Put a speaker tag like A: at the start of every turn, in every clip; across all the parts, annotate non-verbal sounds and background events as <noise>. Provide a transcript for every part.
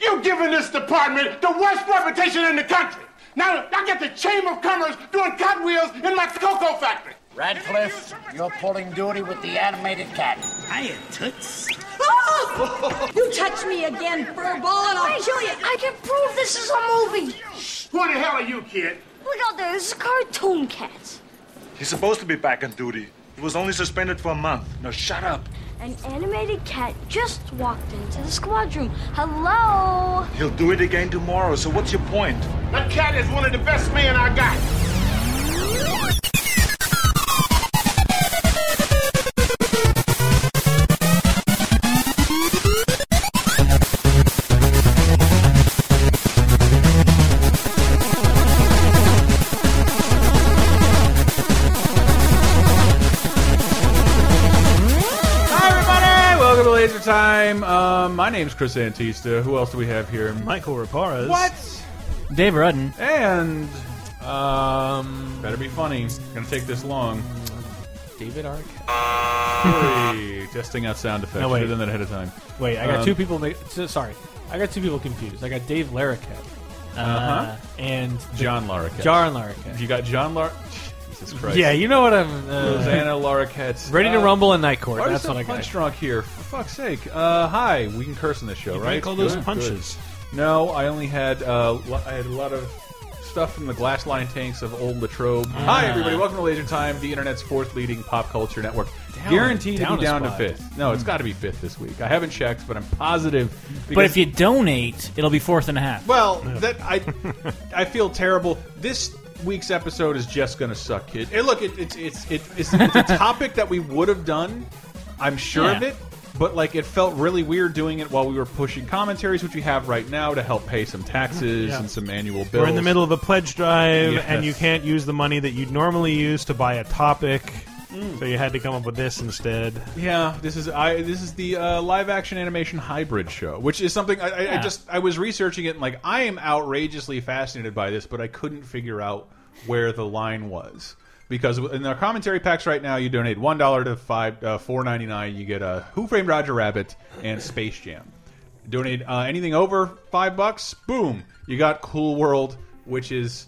A: You're giving this department the worst reputation in the country. Now I get the Chamber of Commerce doing cartwheels in my cocoa factory.
B: Radcliffe, you're pulling duty with the animated cat.
C: Hiya, Toots.
D: Oh! You touch me again, furball, and I'll kill you.
E: I can prove this is a movie.
A: Who the hell are you, kid?
E: Look out there, this is cartoon cats.
F: He's supposed to be back on duty. He was only suspended for a month. Now shut up.
E: An animated cat just walked into the squad room. Hello?
F: He'll do it again tomorrow, so what's your point?
A: That cat is one of the best men I got.
G: Hi, everybody! Welcome to Laser Time. Um, my name's Chris Antista. Who else do we have here?
H: Michael Raparez.
G: What?
C: Dave Rudden.
G: And
H: Um,
G: better be funny. Gonna take this long.
H: David Ark. <laughs>
G: Hey, testing out sound effects.
H: No, wait.
G: Should have done that ahead of time.
H: Wait, I got
G: Um,
H: two people. ma- so- sorry, I got two people confused. I got Dave Larroquette
G: Uh huh.
H: and
G: John Larroquette.
H: John Larroquette.
G: You got John Lar. Jesus Christ.
H: Yeah, you know what I'm. Uh,
G: Rosanna Larroquette.
H: ready to
G: Uh,
H: rumble in night court. That's
G: Artisan
H: what I got.
G: Punch Drunk here. For fuck's sake. Uh, hi. We can curse in this show, right?
H: call those
G: Good,
H: punches.
G: good. No, I only had uh, lo- I had a lot of stuff from the glass line tanks of old Latrobe.
H: Ah.
G: Hi, everybody. Welcome to Laser Time, the internet's fourth leading pop culture network. Guaranteed
H: down Hmm.
G: to
H: a
G: be down to
H: spot.
G: fifth. No, it's got to be fifth this week. I haven't checked, but I'm positive.
C: But
G: because-
C: if you donate, it'll be fourth and a half.
G: well, that I I feel terrible. This week's episode is just going to suck, kid. And look, it, it's it's it, it's it's a
H: <laughs>
G: topic that we would have done. I'm sure of
C: Yeah.
G: it, but like it felt really weird doing it while we were pushing commentaries, which we have right now to help pay some taxes
H: Yeah.
G: and some annual bills.
H: We're in the middle of a pledge drive,
G: Yes.
H: and you can't use the money that you'd normally use to buy a topic. So you had to come up with this instead.
G: Yeah, this is I. This is the uh, live action animation hybrid show, which is something I, I, I
C: Yeah.
G: just I was researching it and like I am outrageously fascinated by this, but I couldn't figure out where the line was because in our commentary packs right now, you donate one dollar to five uh, four ninety nine, you get a Who Framed Roger Rabbit and Space Jam. Donate uh, anything over five bucks, boom, you got Cool World, which is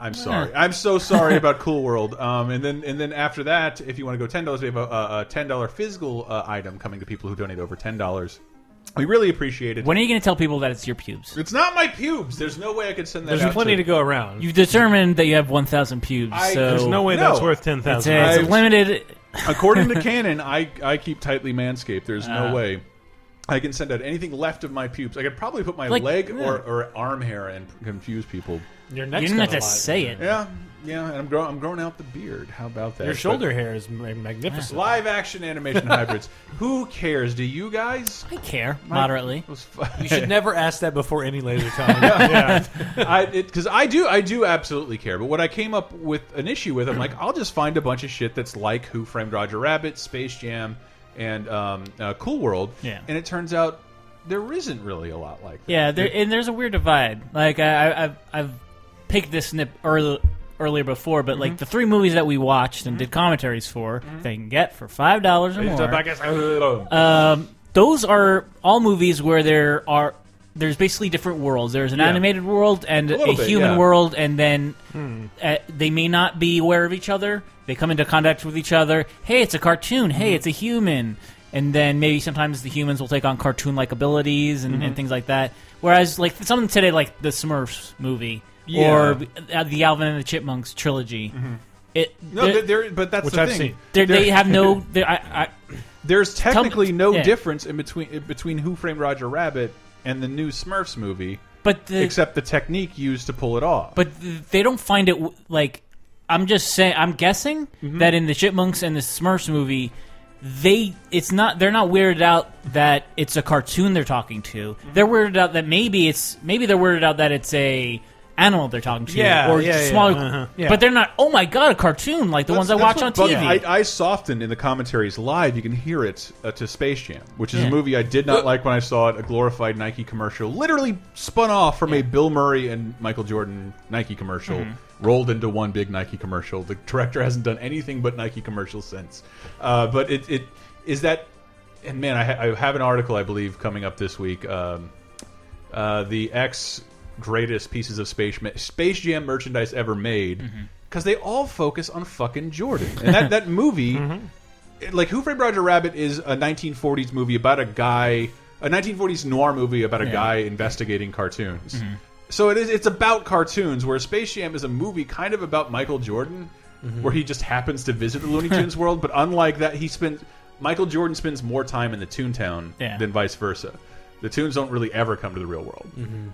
G: I'm sorry. I'm so sorry about Cool World. Um, and then and then after that, if you want to go ten dollars, we have a, a a ten dollar physical uh, item coming to people who donate over ten dollars. We really appreciate it.
C: When are you going to tell people that it's your pubes?
G: it's not my pubes. There's no way I could send that.
H: There's
G: out
H: plenty to go around.
C: You've determined that you have 1,000 pubes,
G: I-
C: so
H: There's no way that's
G: No.
H: worth ten
C: it's, a-
H: thousand.
C: it's a
G: I've-
C: limited.
G: According
H: <laughs>
G: to canon, I I keep tightly manscaped. There's no
H: Ah.
G: way. I can send out anything left of my pubes. I could probably put my
C: Like-
G: leg or, or arm hair and confuse people.
H: Your
C: You
H: neck's
C: didn't have
H: got a
C: to
H: lot.
C: say it.
G: Yeah, yeah. And I'm growing I'm growing out the beard. How about that?
H: Your
G: But-
H: shoulder hair is ma-
G: <laughs>
H: magnificent.
G: Live action animation hybrids. Who cares? Do you guys?
C: I care moderately.
G: Those fu-
H: You should never ask that before any laser time. yeah.
G: <laughs> I because I do I do absolutely care. But what I came up with an issue with, I'm like, I'll just find a bunch of shit that's like Who Framed Roger Rabbit, Space Jam, and um, uh, Cool World.
C: Yeah.
G: And it turns out there isn't really a lot like that.
C: Yeah, there, and there's a weird divide. Like I, I, I've, I've picked this snip earl earlier before, but like the three movies that we watched and did commentaries for, they can get for five dollars or more. Um, those are all movies where there are there's basically different worlds. There's an
G: Yeah.
C: animated world and
G: A
C: a,
G: little bit,
C: human
G: yeah. Hmm.
C: world, and then uh, they may not be aware of each other. They come into contact with each other. Hey, it's a cartoon.
G: Hmm.
C: Hey, it's a human. And then maybe sometimes the humans will take on cartoon-like abilities and,
G: Hmm.
C: and things like that. Whereas, like something today, like the Smurfs movie
G: Yeah. Mm-hmm.
C: or uh, the Alvin and the Chipmunks trilogy, it
G: No,
C: they're-
G: there, there- but that's
H: Which
G: the
H: I've
G: thing.
H: seen.
C: they're- they
G: There-
C: have no. they're- I, I,
G: <laughs> There's technically no
C: yeah.
G: difference in between in between Who Framed Roger Rabbit and the new Smurfs movie,
C: but the,
G: except the technique used to pull it off.
C: but th- they don't find it w- like I'm just saying I'm guessing
H: Mm-hmm.
C: that in the Chipmunks and the Smurfs movie they it's not they're not weirded out that it's a cartoon they're talking to.
H: Mm-hmm.
C: They're weirded out that maybe it's maybe they're weirded out that it's a animal they're talking to
H: Yeah,
C: or
H: yeah, yeah,
C: smaller
H: uh-huh, yeah.
C: but they're not oh my god a cartoon like the ones I watch
G: That's
C: on
G: what bugged-
C: TV.
G: I, I softened in the commentaries live. You can hear it uh, to Space Jam, which is a
C: Yeah.
G: movie I did not like when I saw it. A glorified Nike commercial, literally spun off from a Bill Murray and Michael Jordan Nike commercial,
C: Mm-hmm.
G: rolled into one big Nike commercial. The director hasn't done anything but Nike commercials since. Uh, but it, it is that, and man, I, ha I have an article I believe coming up this week. Um, uh, the X greatest pieces of space Space Jam merchandise ever made because they all focus on fucking Jordan and that that movie. it- Like Who Framed Roger Rabbit is a 1940s movie about a guy, a 1940s noir movie about a guy investigating cartoons. So it is. It's about cartoons. Where Space Jam is a movie kind of about Michael Jordan, where he just happens to visit the Looney Tunes world. But unlike that, he spends Michael Jordan spends more time in the Toontown
C: Yeah.
G: than vice versa. The Toons don't really ever come to the real world.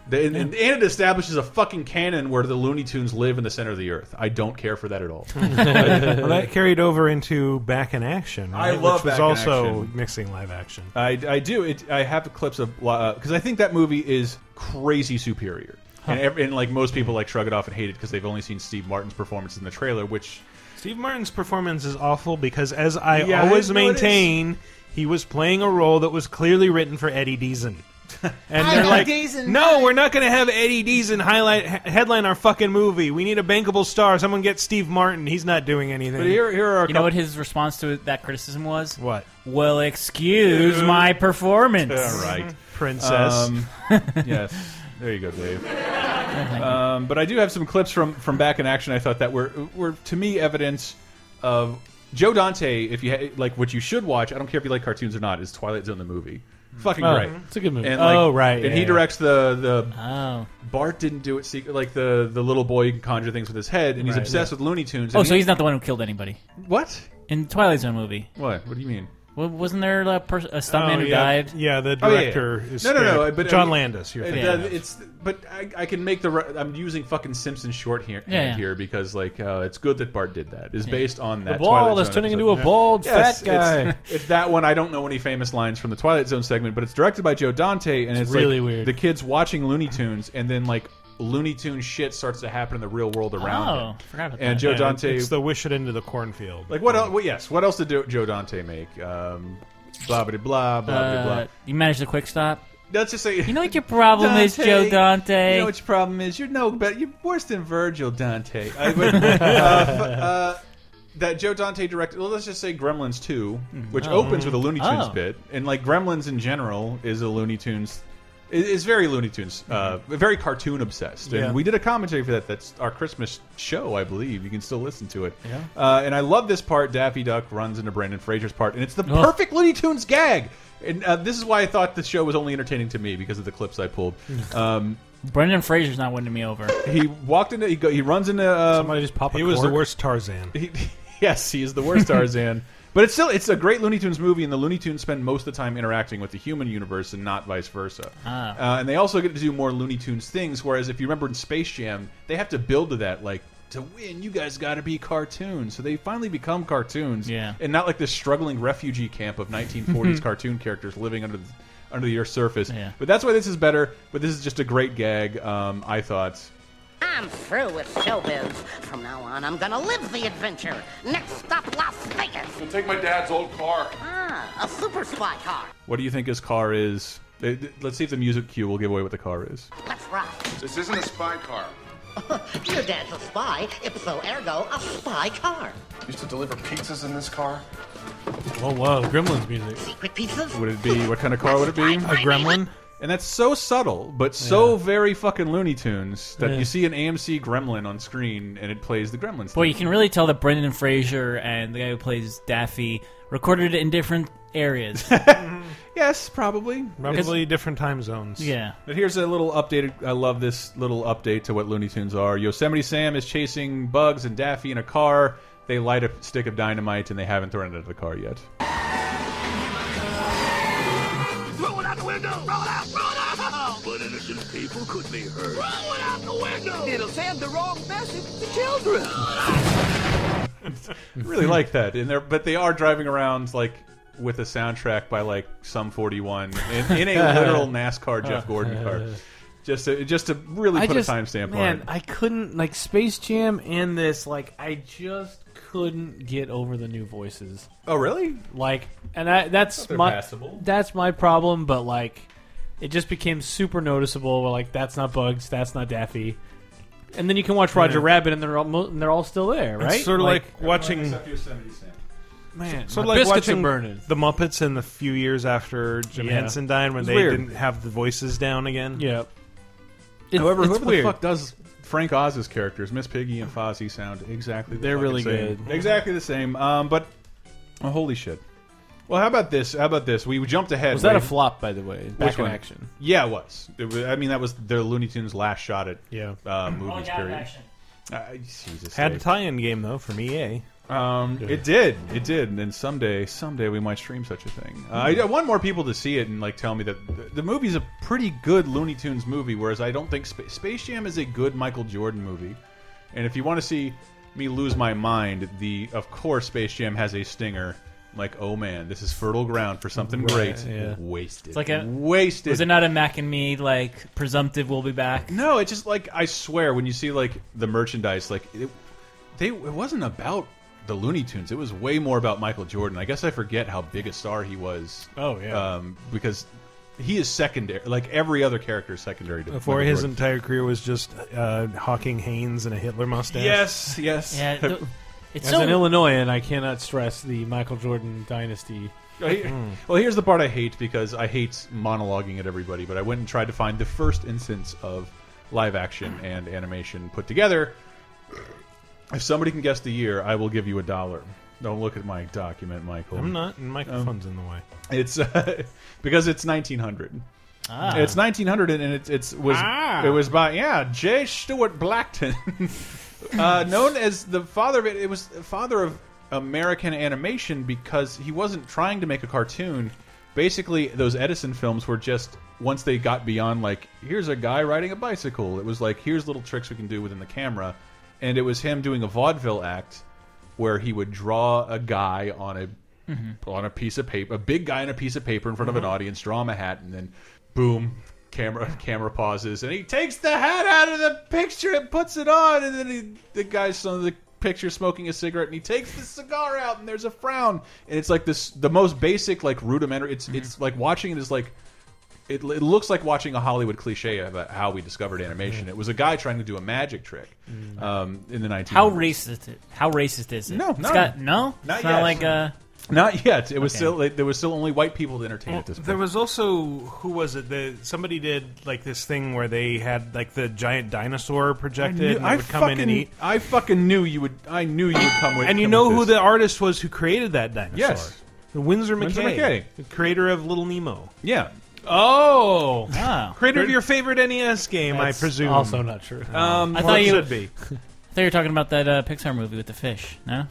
G: They- and, and it establishes a fucking canon where the Looney Tunes live in the center of the earth. I don't care for that at all.
H: Well, that carried over into Back in Action.
G: I
H: right?
G: love
H: Which was
G: Back in
H: also
G: Action.
H: mixing live action.
G: I, I do. It, I have clips of because I think that movie is crazy superior, and, ev and like most people like shrug it off and hate it because they've only seen Steve Martin's performance in the trailer, which
H: Steve Martin's performance is awful because, as I
G: Yeah, I
H: always
G: didn't know it is.
H: maintain, he was playing a role that was clearly written for
G: <laughs>
H: Eddie Deason. And they're like, no, we're not going to have Eddie Deason highlight he- headline our fucking movie. We need a bankable star. Someone get Steve Martin. He's not doing anything.
G: but here here are a
C: You know
G: couple-
C: what his response to that criticism was?
H: What?
C: Well, excuse my performance.
G: All <laughs> right.
H: Princess.
G: Um, yes. There you go, Dave. Um, but I do have some clips from from back in action. I thought that were were to me evidence of Joe Dante. If you ha like, what you should watch. I don't care if you like cartoons or not. Is Twilight Zone the movie? Fucking
C: Oh,
G: great.
I: It's a good movie.
G: And like,
H: Oh, right,
G: And
H: yeah,
G: he
H: yeah.
G: directs the the
C: Oh.
G: Bart didn't do it secret like the the little boy who can conjure things with his head, and he's obsessed with Looney Tunes.
C: Oh,
G: and
C: so
G: he-
C: he's not the one who killed anybody
G: what?
C: in the Twilight Zone movie.
G: What? What do you mean?
C: Wa- Wasn't there a, pers- a
H: Oh,
C: stuntman who
H: yeah.
C: died?
H: Yeah, the
G: Oh, yeah, yeah.
H: director is
G: no, no, no.
H: Spirit.
G: But, I
H: John
G: mean,
H: Landis. You're
G: it-
H: thinking
G: uh,
H: of.
G: it's but I, I can make the re- I'm using fucking Simpson short here
C: Yeah, yeah.
G: here because like uh, it's good that Bart did that is based on
I: the
G: that Twilight
I: ball is
G: Zone
I: turning
G: episode.
I: into a bald
G: Yes,
I: fat guy.
G: <laughs> It's, it's that one. I don't know any famous lines from the Twilight Zone segment, but it's directed by Joe Dante, and it's, like
I: really weird.
G: The kids watching Looney Tunes, and then like Looney Tune shit starts to happen in the real world around
C: Oh,
G: him.
C: forgot about
G: and
C: that.
G: Joe
H: Yeah,
G: Dante,
H: It's the wish it into the cornfield.
G: like what? Else, well, yes. What else did Do- Joe Dante make? Um, blah blah blah blah
C: Uh,
G: blah.
C: you managed the quick stop.
G: Let's just say
C: You know what your problem is, Joe Dante.
G: You know what your problem is. You're no better. You're worse than Virgil Dante. I would, uh, f- uh, that Joe Dante directed. Well, let's just say Gremlins Two, which opens with a Looney Tunes
C: Oh.
G: bit, and like Gremlins in general is a Looney Tunes. i- Is very Looney Tunes, uh, very cartoon obsessed, and
H: Yeah.
G: we did a commentary for that. That's our Christmas show, I believe. You can still listen to it. Yeah. Uh, and I love this part. Daffy Duck runs into Brandon Fraser's part, and it's the
C: Ugh.
G: perfect Looney Tunes gag. And uh, this is why I thought the show was only entertaining to me because of the clips I pulled. Um,
C: Brendan Fraser's not winning me over.
G: he walked into he, go, he runs into um,
I: Somebody just pop a
H: he was the
I: cork.
H: worst Tarzan.
G: <laughs> he, yes he is the worst
C: <laughs>
G: Tarzan but it's still it's a great Looney Tunes movie and the Looney Tunes spend most of the time interacting with the human universe and not vice versa
C: Ah.
G: uh, and they also get to do more Looney Tunes things whereas if you remember in Space Jam they have to build to that like to win you guys got to be cartoons so they finally become cartoons
C: Yeah.
G: and not like this struggling refugee camp of
C: <laughs>
G: 1940s cartoon characters living under the under the earth's surface
C: Yeah.
G: but that's why this is better but this is just a great gag um, I thought
B: I'm through with showbiz. From now on, I'm gonna live the adventure. Next stop, Las Vegas.
F: I'll take my dad's old car.
B: Ah, a super spy car.
G: What do you think his car is? Uh, th- Let's see if the music cue will give away what the car is.
B: Let's ride.
A: This isn't a spy car.
B: Your dad's a spy, ipso ergo, a spy car.
A: Used to deliver pizzas in this car.
I: Oh wow, Gremlins music.
B: Secret pieces?
G: Would it be what kind of car would it be?
H: <laughs> A gremlin?
G: And that's so subtle, but so very fucking Looney Tunes that you see an AMC Gremlin on screen and it plays the Gremlins.
C: Boy,
G: theme.
C: you can really tell that Brendan Fraser and the guy who plays Daffy recorded it in different areas.
G: <laughs> yes, probably.
H: Probably different time zones.
C: yeah.
G: But here's a little updated. I love this little update to what Looney Tunes are. Yosemite Sam is chasing Bugs and Daffy in a car. They light a stick of dynamite and they haven't thrown it out of the car yet.
J: Throw it out the window! Throw it out! Throw it out! But innocent people could be hurt. Throw it out the window! It'll send the wrong message to children.
G: really like that. And they're but they are driving around like with a soundtrack by like some 41 in, in a
I: <laughs>
G: literal NASCAR
I: Oh.
G: Jeff Gordon car. Just to, just to really
I: I
G: put
I: just
G: a timestamp on
I: man,
G: it.
I: I couldn't like Space Jam and this like I just couldn't get over the new voices.
G: oh, really?
I: Like, and I that's
G: they're
I: my
G: passable.
I: that's my problem. But like, it just became super noticeable. Where, like, that's not Bugs, that's not Daffy. And then you can watch Roger Rabbit, and they're all mo- and they're all still there, right?
H: It's sort of like, watching
G: Yosemite Sam.
H: Man,
I: So,
H: so,
I: my
H: like
I: biscuits are
H: watching
I: burning.
H: the Muppets in the few years after Jim
I: Yeah.
H: Henson died, when
I: It's
H: they
I: weird.
H: didn't have the voices down again.
I: Yeah.
G: However,
I: it's
G: whoever
I: weird.
G: the fuck does Frank Oz's characters, Miss Piggy and Fozzie, sound exactly. the
I: They're
G: fucking
I: really
G: same.
I: good.
G: Exactly the same. Um, but oh, holy shit. Well, how about this? How about this? We jumped ahead.
I: Was that a
G: Wait.
I: flop, by the way? Back
G: Which
I: in
G: one?
I: action.
G: Yeah, it was. It was. I mean, that was their Looney Tunes last shot at
I: Yeah.
G: uh,
C: Rolling
G: movies.
C: Out of
G: Period.
C: Action.
G: Uh, Jesus.
H: Had a
G: sake.
H: tie-in game though eh? from EA.
G: Um, it did. It did. And someday, someday we might stream such a thing. Uh, I, I want more people to see it and like tell me that the, the movie's a pretty good Looney Tunes movie. Whereas I don't think Spa Space Jam is a good Michael Jordan movie. And if you want to see me lose my mind, the of course Space Jam has a stinger. Like, oh man, this is fertile ground for something great.
I: yeah.
G: Wasted. It's
C: like a-
G: wasted.
C: Was it not a Mac and Me like presumptive? We'll be back.
G: No, it's just like I swear when you see like the merchandise, like it, they it wasn't about the Looney Tunes. It was way more about Michael Jordan. I guess I forget how big a star he was.
I: Oh, yeah.
G: um, because he is secondary. Like every other character is secondary to
H: Before
G: Michael
H: his
G: Jordan.
H: entire career was just uh, hawking Haynes and a Hitler mustache.
G: Yes, yes.
C: <laughs> Yeah. th- It's
I: As
C: so
I: an Illinoisan, I cannot stress the Michael Jordan dynasty.
G: Well, here's the part I hate because I hate monologuing at everybody, but I went and tried to find the first instance of live action and animation put together. If somebody can guess the year, I will give you a dollar. Don't look at my document, Michael.
H: I'm not, and microphone's in the way.
G: It's uh, <laughs> because it's 1900. It's 1900 and it's it's was
H: Ah.
G: it was by yeah J. Stuart Blackton, <laughs> uh, known as the father of it. It was the father of American animation because he wasn't trying to make a cartoon. Basically, those Edison films were just once they got beyond like here's a guy riding a bicycle. It was like here's little tricks we can do within the camera, and it was him doing a vaudeville act where he would draw a guy on a on a piece of paper, a big guy on a piece of paper in front of an audience, draw him a hat, and then boom, camera <laughs> camera pauses, and he takes the hat out of the picture and puts it on, and then he, the guy's on the picture smoking a cigarette, and he takes the cigar out, and there's a frown, and it's like this the most basic like rudimentary. It's it's like watching it is like. It, it looks like watching a Hollywood cliche about how we discovered animation. It was a guy trying to do a magic trick um, in the 1900s.
C: how racist it? How racist is it?
G: No,
C: It's
G: no.
C: got no.
G: Not
C: it's
G: yet.
C: not like uh,
G: Not yet. It was
C: Okay.
G: still like, there was still only white people to entertain at this point.
H: There was also who was it? The somebody did like this thing where they had like the giant dinosaur projected and it would come in and eat.
G: I fucking knew you would. I knew you would come with.
H: And you
G: come
H: know
G: with
H: who
G: this.
H: the artist was who created that dinosaur?
G: Yes.
H: The Windsor McKay,
G: Winsor McKay.
H: the creator of Little Nemo,
G: Yeah.
H: Oh.
C: oh.
H: creator of your favorite NES game, I
I: That's
H: presume.
I: Also not true.
G: Oh.
H: um,
C: I
G: <laughs>
H: I
C: thought
H: thought
C: you-
H: should be.
C: I thought you were talking about that uh, Pixar movie with the fish. No.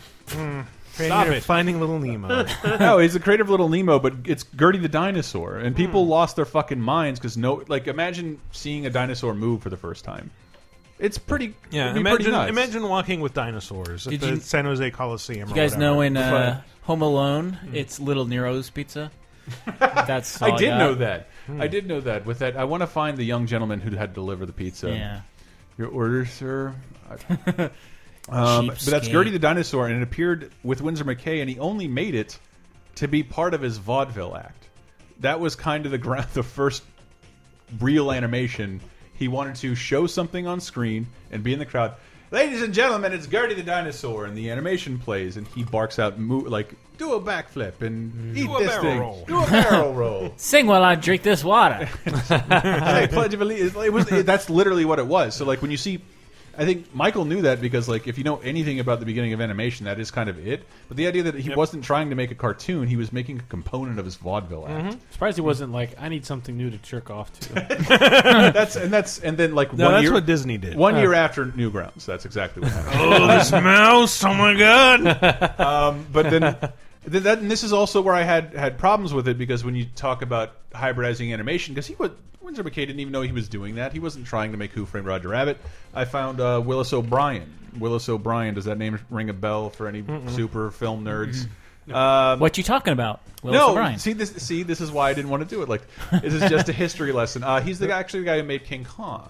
H: Stop it. Finding Little Nemo.
G: no, Oh, he's the creator of Little Nemo, but it's Gertie the dinosaur,
H: Hmm.
G: and people lost their fucking minds because no, like, imagine seeing a dinosaur move for the first time. It's pretty.
H: yeah,
G: it'd be
H: imagine
G: pretty nuts.
H: imagine walking with dinosaurs at
C: Did
H: the
C: you-
H: San Jose Coliseum.
C: You
H: or
C: guys
H: whatever.
C: know in uh, Home Alone, it's Little
I: <laughs>
C: Nero's Pizza. That's all
G: I did
C: got.
G: know that.
H: Hmm.
G: I did know that. With that, I want to find the young gentleman who had to deliver the pizza.
C: Yeah.
G: Your order, sir. I- um, but that's
C: Cheapskate.
G: Gertie the Dinosaur, and it appeared with Windsor McKay, and he only made it to be part of his vaudeville act. That was kind of the ground, <laughs> the first real animation. He wanted to show something on screen and be in the crowd. Ladies and gentlemen, it's Gertie the dinosaur, and the animation plays, and he barks out mo like, "Do a backflip and eat
H: Do a
G: this
H: barrel
G: thing,
H: roll."
G: do a barrel
H: <laughs>
G: roll."
C: Sing while I drink this water.
G: <laughs> Hey, Pledge of Allegiance. It was, it- that's literally what it was. So, like, when you see, I think Michael knew that because, like, if you know anything about the beginning of animation, that is kind of it. But the idea that he wasn't trying to make a cartoon, he was making a component of his vaudeville
H: Mm-hmm.
G: act.
I: <laughs> Surprised he wasn't like, I need something new to jerk off
C: <laughs>
I: to.
G: That's and that's and then like
H: No,
G: one
H: that's
G: year,
H: what Disney did. Uh.
G: One year after Newgrounds, that's exactly what happened.
H: oh, this mouse! Oh my god!
G: but
C: <laughs>
G: then. th- That, and this is also where I had had problems with it because when you talk about hybridizing animation, because he was Windsor McKay didn't even know he was doing that. He wasn't trying to make Who Framed Roger Rabbit. I found uh, Willis O'Brien. Willis O'Brien. Does that name ring a bell for any super film nerds? Um,
C: what you talking about? Willis
G: no,
C: O'Brien.
G: see this. See, <laughs> this is why I didn't want to do it. Like, this is just a history lesson. Uh, he's the guy, actually the guy who made King Kong.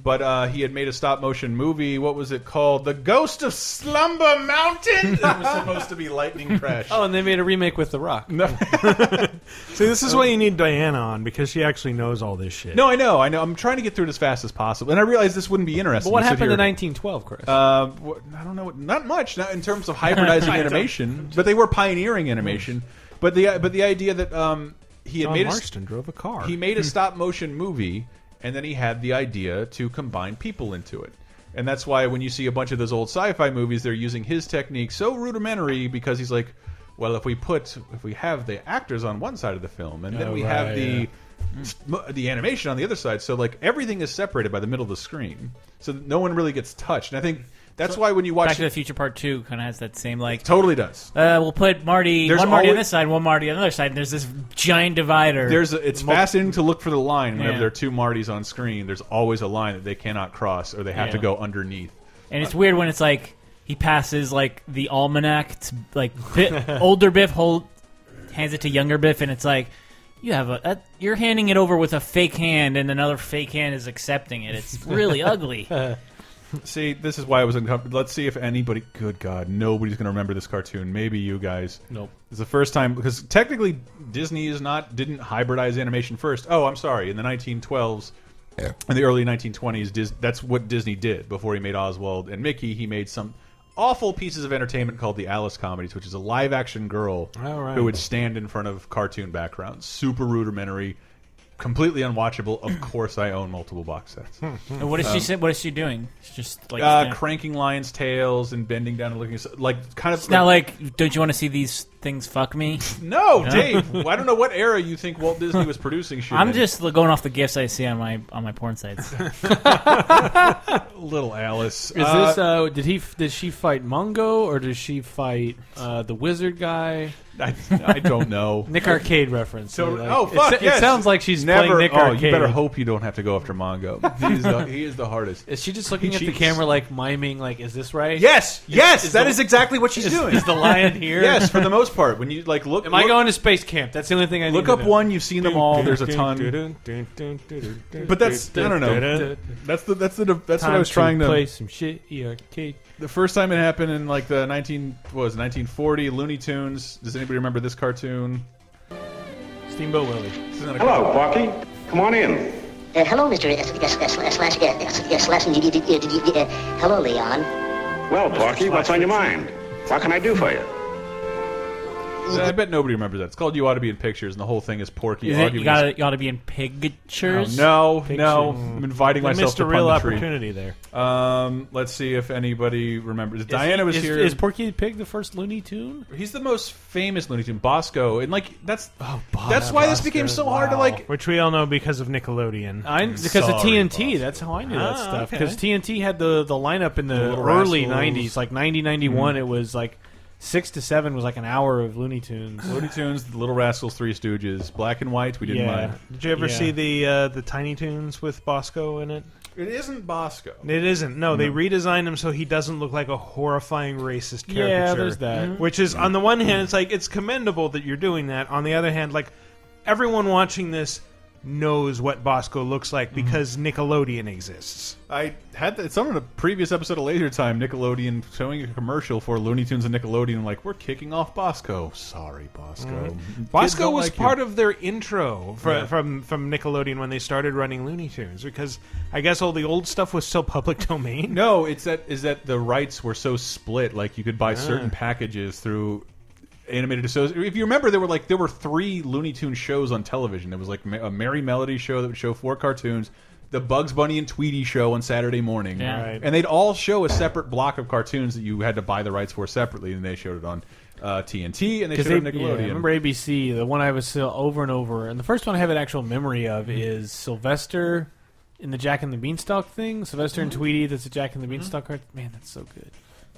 G: But uh, he had made a stop motion movie. What was it called? The Ghost of Slumber Mountain. <laughs> it was supposed to be Lightning Crash.
I: Oh, and they made a remake with The Rock.
G: No.
H: See, this is why you need Diana on because she actually knows all this shit.
G: No, I know, I know. I'm trying to get through it as fast as possible, and I realize this wouldn't be interesting.
I: But what
G: to sit
I: happened
G: here-
I: in 1912, Chris?
G: Uh, what- I don't know. What, not much. Not in terms of
I: <laughs>
G: hybridizing
I: I don't-
G: animation, but they were pioneering animation. But the but the idea that um, he had
H: John
G: made a s-
H: Marston drove a car.
G: He
C: <laughs>
G: made a stop motion movie, and then he had the idea to combine people into it. And that's why when you see a bunch of those old sci-fi movies, they're using his technique so rudimentary because he's like, well, if we put if we have the actors on one side of the film, and then
H: Oh,
G: we
H: right,
G: have
H: yeah.
G: the m- the animation on the other side, so like everything is separated by the middle of the screen, so that no one really gets touched. And I think that's why when you watch
C: Back to
G: it-
C: the Future Part Two kind of has that same like.
G: totally does.
C: Uh, we'll put Marty
G: There's
C: one Marty on
G: always-
C: this side, one Marty on the other side. And there's this giant divider.
G: There's a, it's
C: Mul-
G: fascinating to look for the line whenever
C: Yeah.
G: there are two Martys on screen. There's always a line that they cannot cross, or they have
C: Yeah.
G: to go underneath.
C: and it's weird when it's like he passes like the almanac, to, like Bi- older Biff hold hands it to younger Biff, and it's like you have a, a you're handing it over with a fake hand, and another fake hand is accepting it. It's really ugly.
G: See, this is why I was uncomfortable. Let's see if anybody. Good God, nobody's going to remember this cartoon. Maybe you guys.
I: Nope.
G: It's the first time because technically Disney is not didn't hybridize animation first. Oh, I'm sorry. In the 1912s, in the early 1920s, Dis, that's what Disney did before he made Oswald and Mickey. He made some awful pieces of entertainment called the Alice comedies, which is a live action girl
C: Oh,
H: All right.
G: who would stand in front of cartoon backgrounds. Super rudimentary, completely unwatchable. Of course, I own multiple box sets.
C: And what is
I: Um,
C: she? What is she doing? It's just like
G: uh,
C: stand-
G: cranking lions' tails and bending down and looking s- like kind of
C: it's not like don't you want to see these things fuck me?
G: no, Dave. I don't know what era you think Walt Disney was producing shit.
C: I'm
G: in.
C: just going off the gifts I see on my on my porn sites.
G: little
I: <laughs>
G: Alice.
I: Is
G: Uh,
I: this uh, did he f- did she fight Mongo or does she fight uh, the wizard guy?
G: I, I
I: <laughs>
G: don't know.
I: Nick Arcade reference.
G: So-
I: Like,
G: oh
I: it
G: fuck!
I: sa- It,
G: yes.
I: sounds like she's
G: never.
I: playing Nick
G: oh,
I: Arcade.
G: you better hope you don't have to go after Mongo. He is the, he is the hardest.
I: Is she just looking
G: He
I: at the
G: cheats.
I: camera like miming like is this right?
G: Yes, yes,
I: Is
G: that
I: the-
G: is exactly what she's doing.
I: Is the lion here?
G: yes,
I: <laughs>
G: for the most part, when you like look,
I: Am
G: look,
I: I going to space camp? That's the only thing I need
G: Look
I: to
G: up
I: know.
G: one. You've seen them all. There's
I: <laughs>
G: a ton. But
H: But
G: that's I don't know. That's the that's the that's what I was trying to
I: play some shit. Arcade.
G: The first time it happened in like the 19 what was it, 1940 Looney Tunes. Does anybody remember this cartoon?
I: Steamboat Willie.
G: This is not a
A: Hello, Bucky. Come on in.
B: Uh, hello, Mr. S- yes, yes, slash, yes, yes, slash, d- d- d- d- d- d- uh, hello, Leon.
A: Well, Bucky, what's on your mind? What can I do for you?
G: cartoon. I bet nobody remembers that. It's called You Ought to Be in Pictures, and the whole thing is Porky
C: Is it-
G: arguing. Oh,
C: you gotta you gotta be in pictures.
G: no, no, I'm inviting
H: I
G: myself
H: missed
G: to
H: a real
G: pun the tree.
H: opportunity there.
G: Um, let's see if anybody remembers. Diana was
I: is,
G: here.
I: Is Porky the Pig the first Looney Tune?
G: He's the most famous Looney Tune, Bosco, and like that's
I: Oh, Bob.
G: that's why this became so hard to
I: wow.
G: like.
H: Which we all know because of Nickelodeon.
I: I, because
G: Sorry,
I: of TNT,
G: boss.
I: that's how I knew
H: Ah,
I: that stuff.
H: okay.
I: Because TNT had the, the lineup in the,
G: Little
I: early
G: Rascals. Hmm.
I: 90s, like 90, 91, it was like 6 to 7 was like an hour of Looney Tunes.
G: Looney Tunes, The Little Rascals, Three Stooges, Black and White. We didn't
H: yeah.
G: mind.
H: Did you ever
I: Yeah.
H: see the uh, the Tiny Toons with Bosco in it?
G: It isn't Bosco.
H: It isn't. No, they redesigned him so he doesn't look like a horrifying racist
I: Yeah,
H: caricature.
I: there's that. Mm-hmm.
H: Which is on the one hand, it's like it's commendable that you're doing that. On the other hand, like everyone watching this knows what Bosco looks like because Nickelodeon exists.
G: I had that. Someone in a previous episode of Laser Time, Nickelodeon showing a commercial for Looney Tunes and Nickelodeon, like we're kicking off Bosco. Sorry, Bosco.
H: Bosco was part of their intro fr from from Nickelodeon when they started running Looney Tunes because I guess all the old stuff was still public <laughs> domain.
G: No, it's that is that the rights were so split. Like you could
I: Ah.
G: buy certain packages through animated associates. If you remember, there were like there were three Looney Tunes shows on television. There was like a Merry Melody show that would show four cartoons. The Bugs Bunny and Tweety show on Saturday morning,
C: Yeah.
H: Right.
G: and they'd all show a separate block of cartoons that you had to buy the rights for separately, and they showed it on uh, TNT and they showed
I: Because
G: it on Nickelodeon.
I: I remember ABC, the one I was still over and over, and the first one I have an actual memory of
G: Mm-hmm.
I: is Sylvester in the Jack and the Beanstalk thing. Sylvester and Tweety, that's a Jack and
G: Mm-hmm.
I: the Beanstalk card. Man, that's so good.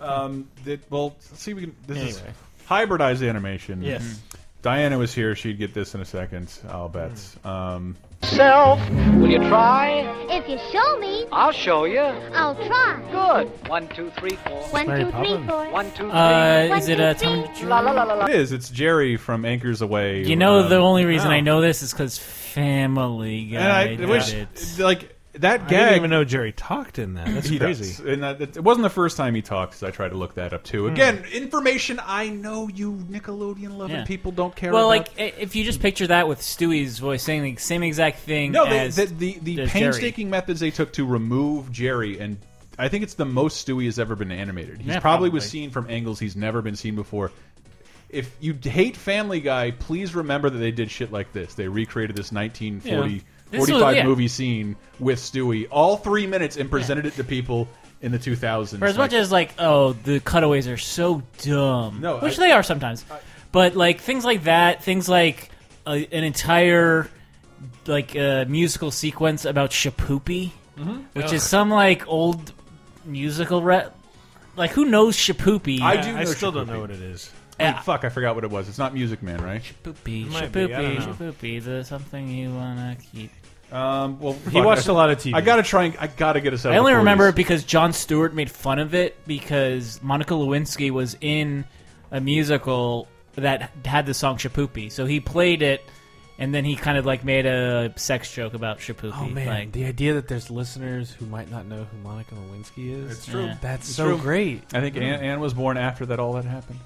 G: Um, that, well, let's see. If we can. This
I: Anyway.
G: is hybridized animation.
I: Yes.
G: Diana was here. She'd get this in a second. I'll bet.
I: Hmm.
G: Um,
K: Self, will you try?
E: If you show me,
K: I'll show you.
E: I'll try.
K: Good. One, two, three, four.
E: One,
I: Mary
E: two, three,
I: Poppins.
E: four.
K: One, two, three.
C: Uh,
E: One,
C: is it
E: two,
C: a
E: three.
C: Tom?
K: la la la la la.
G: it is. It's Jerry from Anchors Away.
C: You know,
G: Um,
C: the only reason
H: wow.
C: I know this is because Family Guy
G: And I
C: did
G: wish,
C: it.
G: like, that
H: I
G: gag. <laughs>
H: didn't even know Jerry talked in that. That's
G: he
H: crazy.
G: Does. And that, it wasn't the first time he talked. 'cause I tried to look that up too. Again, information I know you Nickelodeon loving
C: Yeah.
G: people don't care.
C: well,
G: about.
C: like i- if you just picture that with Stewie's voice saying the same exact thing.
G: no, they,
C: as
G: the the, the
C: does
G: painstaking
C: Jerry.
G: methods they took to remove Jerry and. I think it's the most Stewie has ever been animated. He
C: Yeah,
G: probably was
C: probably.
G: seen from angles he's never been seen before. If you hate Family Guy, please remember that they did shit like this. They recreated this 1940
C: Yeah. This was-
G: 45
C: yeah.
G: movie scene with Stewie all 3 minutes and presented it to people in the 2000s.
C: For as much
G: Like,
C: as like, oh, the cutaways are so dumb.
G: No,
C: which
G: I-
C: they are sometimes. but like things like that, things like uh, an entire like uh, musical sequence about Shapoopy,
G: Mm-hmm.
J: Mhm.
C: which
J: Ugh.
C: is some like old musical re- like who knows Shapoopy?
G: I do. Know Shapoopy. Wait,
C: Yeah.
G: Fuck, I forgot what it was. It's not Music Man, right?
C: Shapoopy, Shapoopy, Shapoopy, the something you wanna keep.
G: Um, well,
C: He watched
G: a
C: a lot of TV.
G: I gotta try. And, I gotta get us out.
C: I
G: of
C: only
G: the 40s.
C: remember it because John Stewart made fun of it because Monica Lewinsky was in a musical that had the song Shapoopy. So he played it and then he kind of like made a sex joke about Shapoopy.
I: Oh man,
C: Like,
I: the idea that there's listeners who might not know who Monica Lewinsky is.
G: It's true.
I: That's
G: It's
I: so
G: true.
I: great.
G: I think Anne, Anne was born after that. All that happened.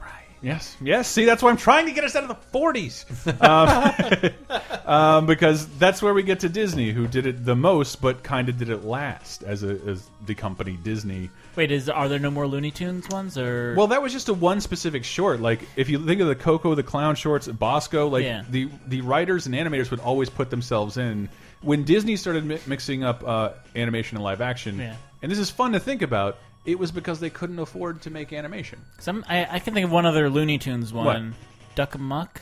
G: Right. Yes. Yes. See, that's why I'm trying to get us out of the 40s, um, <laughs> um, because that's where we get to Disney, who did it the most, but kind of did it last as a, as the company Disney.
C: wait, is are there no more Looney Tunes ones or
G: Well, that was just a one specific short. Like if you think of the Coco the Clown shorts, Bosco, like
C: Yeah.
G: the the writers and animators would always put themselves in. When Disney started mi mixing up uh, animation and live action,
C: Yeah.
G: and this is fun to think about, it was because they couldn't afford to make animation.
C: some I, I can think of one other Looney Tunes
G: What? Oh.
C: one. Duck Muck.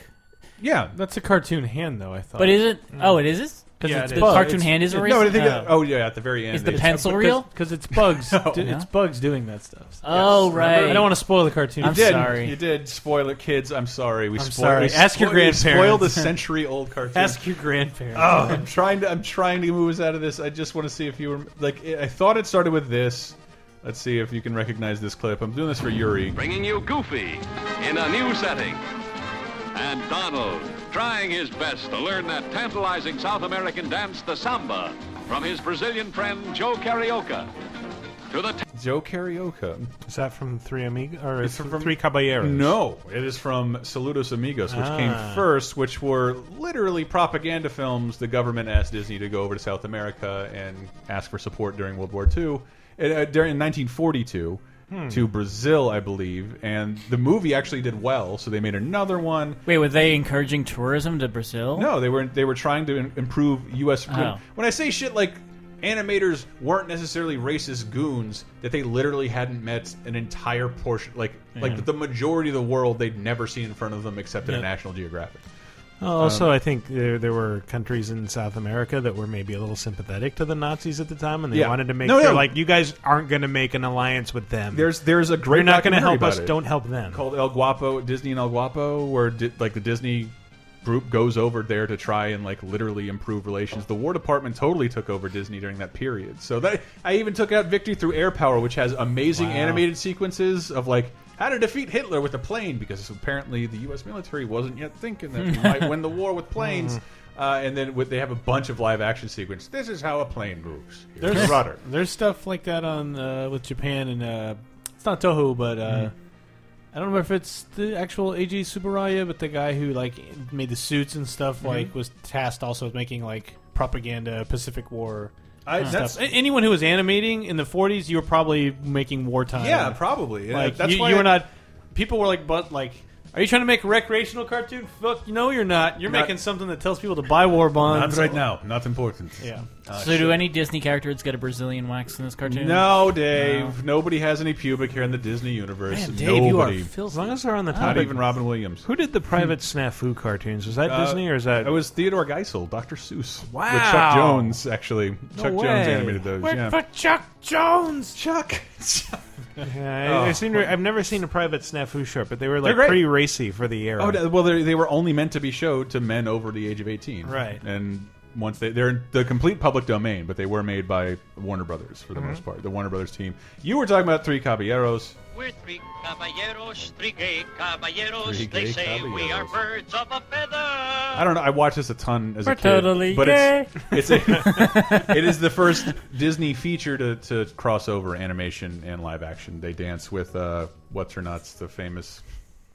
G: Yeah,
I: that's a cartoon hand, though. I thought.
C: But is it
I: Mm.
C: Oh, it is it? Cuz
I: Yeah, it
C: the
I: is. Bug.
C: cartoon
I: It's-
C: hand is
I: it-
C: erased.
G: No, I think.
C: Oh.
G: It, oh yeah, at the very end.
C: Is the
G: it's-
C: pencil real?
I: Uh, Because it's
H: <laughs>
I: bugs.
G: No.
I: do- It's bugs doing that stuff.
C: Oh,
I: Yes.
C: right.
I: I don't want to spoil the cartoon.
G: You did. You did spoil it, kids. I'm sorry. We
I: I'm
G: spoiled.
I: sorry.
G: we
I: Ask your
G: spoiled- we Spoiled
I: grandparents.
G: a century-old cartoon.
I: Ask your grandparents.
G: Oh, <laughs> I'm trying to. I'm trying to move us out of this. I just want to see if you were like. I thought it started with this. Let's see if you can recognize this clip. I'm doing this for Yuri.
L: Bringing you Goofy in a new setting. And Donald trying his best to learn that tantalizing South American dance, the samba, from his Brazilian friend Joe Carioca. To the
G: Joe Carioca.
H: Is that from Three Amigos or
G: It's
H: it's
G: from-
H: from Three Caballeros?
G: No, it is from Saludos Amigos, which
H: Ah.
G: came first, which were literally propaganda films. The government asked Disney to go over to South America and ask for support during World War II, and, uh, during in 1942.
C: Hmm.
G: To Brazil, I believe, and the movie actually did well, so they made another one.
C: Wait, were they encouraging tourism to Brazil?
G: No, they were they were trying to im- improve U.S.
C: Oh.
G: When, when I say shit like animators weren't necessarily racist goons that they literally hadn't met an entire portion like
H: Yeah.
G: like the majority of the world they'd never seen in front of them except in a
H: Yeah.
G: National Geographic.
H: Oh, Also,
G: Um,
H: I think uh, there there were countries in South America that were maybe a little sympathetic to the Nazis at the time, and they
G: Yeah.
H: wanted to make
G: No,
H: they're
G: no.
H: like you guys aren't going to make an alliance with them.
G: There's there's a great
H: You're not going to
G: documentary
H: help
G: about
H: us.
G: it
H: Don't help them.
G: Called El Guapo, Disney and El Guapo, where di like the Disney group goes over there to try and like literally improve relations. The War Department totally took over Disney during that period. So that I even took out Victory Through Air Power, which has amazing
H: Wow.
G: animated sequences of like how to defeat Hitler with a plane because apparently the U.S. military wasn't yet thinking that <laughs> we might win the war with planes.
H: Mm.
G: Uh, and then with, they have a bunch of live action sequences. This is how a plane moves. Here's
I: There's
G: the rudder.
I: There's stuff like that on uh, with Japan and uh, it's not Toho, but uh,
G: Mhm.
I: I don't know if it's the actual AJ Subaraya, but the guy who like made the suits and stuff
G: Mhm.
I: like was tasked also with making like propaganda Pacific War.
G: I-
I: and
G: that's-
I: stuff. A- anyone who was animating in the 40s, you were probably making wartime.
G: <laughs> Yeah, probably. Yeah,
I: Like
G: that's
I: you,
G: why
I: you
G: I-
I: were not. People were like, but like. Are you trying to make a recreational cartoon? Fuck, no, you're not. You're
G: Not-
I: making something that tells people to buy war bonds.
G: Not right now. Not important.
I: Yeah.
G: Uh,
C: so do any Disney characters get a Brazilian wax in this cartoon?
H: uh,
G: No, Dave. Nobody has any pubic hair in the Disney universe.
C: Man,
H: Dave, you are
G: Nobody.
H: filthy. As long as we're on the
G: Not
H: topic-
G: even Robin Williams.
H: Who did the private snafu cartoons? Was that
G: Uh,
H: Disney or is that?
G: It was Theodore Geisel, Dr. Seuss.
H: Wow.
G: With Chuck Jones, actually.
H: No
G: Chuck
H: way.
G: Jones animated those.
H: Work
G: yeah.
H: for Chuck
G: <laughs>
H: Jones.
G: Chuck.
H: Yeah, I- I,
G: Oh.
H: seem to, I've never seen a private snafu short, but they were
G: They're
H: like
G: great.
H: pretty racy for the era.
G: Oh, no, well, they they were only meant to be showed to men over the age of 18.
H: Right.
G: And once they they're in the complete public domain, but they were made by Warner Brothers for the
H: Mm-hmm.
M: Mhm.
G: most part. The Warner Brothers team. You were talking about Three Caballeros.
M: We're three caballeros, three gay caballeros.
G: Three
M: they
G: gay
M: say we are birds of a feather.
G: I don't know. I watched this a ton as
M: We're
G: a kid,
M: totally
G: but it's
I: <laughs>
G: it's a, it is the first Disney feature to, to cross over animation and live action. They dance with uh, what's her nuts, the famous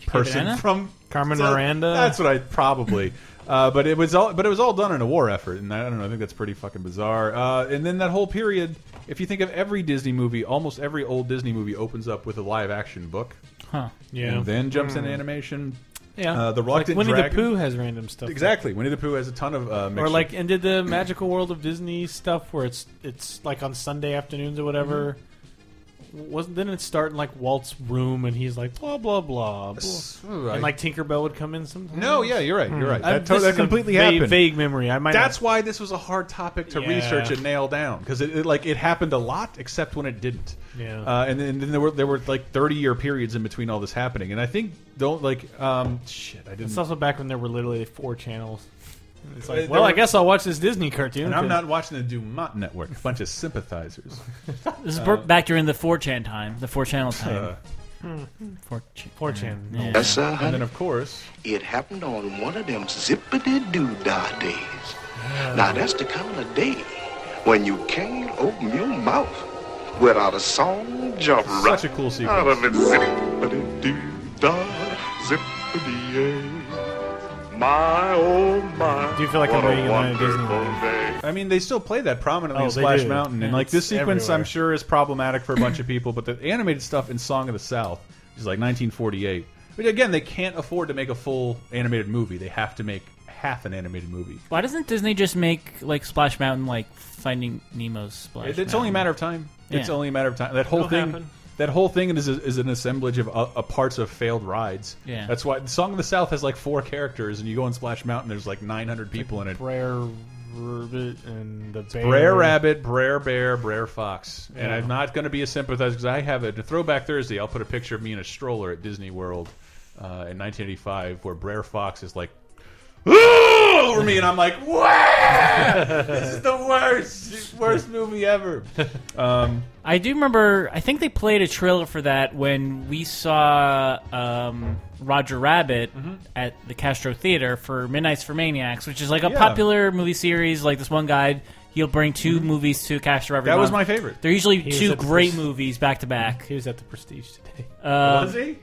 G: person
H: Banana?
G: from
H: Carmen
G: so
H: Miranda?
G: That's what I probably. <laughs> Uh, but it was all, but it was all done in a war effort, and I don't know. I think that's pretty fucking bizarre. Uh, and then that whole period, if you think of every Disney movie, almost every old Disney movie opens up with a live action book,
C: Huh.
G: Yeah. And then jumps into animation.
I: Hmm. Yeah.
G: Uh, the
I: Like
G: Reluctant
I: Winnie
G: Dragon.
I: the Pooh has random stuff.
G: Exactly. Winnie the Pooh has a ton of uh,
I: or
G: mixture.
I: like and did the magical world of disney stuff where it's it's like on sunday afternoons or whatever
G: Mm-hmm.
I: wasn't didn't it start in like walt's room and he's like blah blah blah, blah.
G: I-
I: and like tinkerbell would come in sometimes
G: No, yeah, you're right. You're right.
I: I-
G: That, to-
I: this
G: that
I: is a
G: completely
I: vague,
G: happened.
I: vague memory i might
G: That's why this was a hard topic to
I: Yeah.
G: research and nail down because it, it like it happened a lot, except when it didn't.
I: Yeah.
G: Uh, and then, then there were there were like 30 year periods in between all this happening, and I think don't like um shit. I
I: it's
G: didn't.
I: also back when there were literally four channels it's
G: Uh,
I: like,
G: there
I: well, I
G: were-
I: guess I'll watch this Disney cartoon.
G: And I'm
I: 'cause-
G: not watching the Dumont Network. A bunch
I: <laughs>
G: of sympathizers.
C: This is
G: Uh,
C: bur- back during the 4chan time, the 4
G: <laughs>
C: channel time.
I: Hmm.
C: 4chan.
I: 4chan.
C: Yeah.
G: and then of course,
J: it happened on one of them zippity doo dah days. Now that's the kind of day when you can't open your mouth without a song jump
G: Such a cool sequence.
J: out of it. Zippity doo dah, zippity My oh my.
I: Do you feel like
J: what
I: I'm waiting in line at
J: wonderful
I: Disneyland?
J: day.
G: I mean, they still play that prominently
I: Oh,
G: in
I: they
G: Splash
I: do.
G: Mountain, and
I: Yeah,
G: like this
I: it's
G: sequence,
I: everywhere.
G: I'm sure is problematic for a bunch of people. But the animated stuff in Song of the South is like 1948. But again, they can't afford to make a full animated movie. They have to make half an animated movie.
C: Why doesn't Disney just make like Splash Mountain like Finding Nemo's Splash?
G: It- it's only a matter of time. It's only a matter of time. That whole
C: It'll
G: thing.
C: happen.
G: That whole thing is, is an assemblage of uh, uh, parts of failed rides.
C: Yeah.
G: that's why Song of the South has like four characters, and you go on Splash Mountain, there's like 900 people in it.
I: Brer Rabbit and the Bear.
C: Mm-hmm.
G: Brer Rabbit, Brer Bear, Brer Fox. And
I: Yeah.
G: I'm not going to be a sympathizer because I have a to throwback Thursday. I'll put a picture of me in a stroller at Disney World uh, in 1985 where Brer Fox is like, "Ooh!" over me. And I'm like, "Wah! this is the worst, worst movie ever. Um,
C: I do remember. I think they played a trailer for that when we saw um, Roger Rabbit
G: Mm-hmm.
C: at the Castro Theater for Midnight's for Maniacs, which is like a
G: Yeah.
C: popular movie series. Like this one guy, he'll bring 2 movies to Castro every
G: Mm-hmm. That was
C: month.
G: my favorite.
C: They're usually
I: He was
C: two
I: at the
C: great
I: Pres-
C: movies back to back.
I: He was at the Prestige <laughs> today.
C: Um,
G: Was he?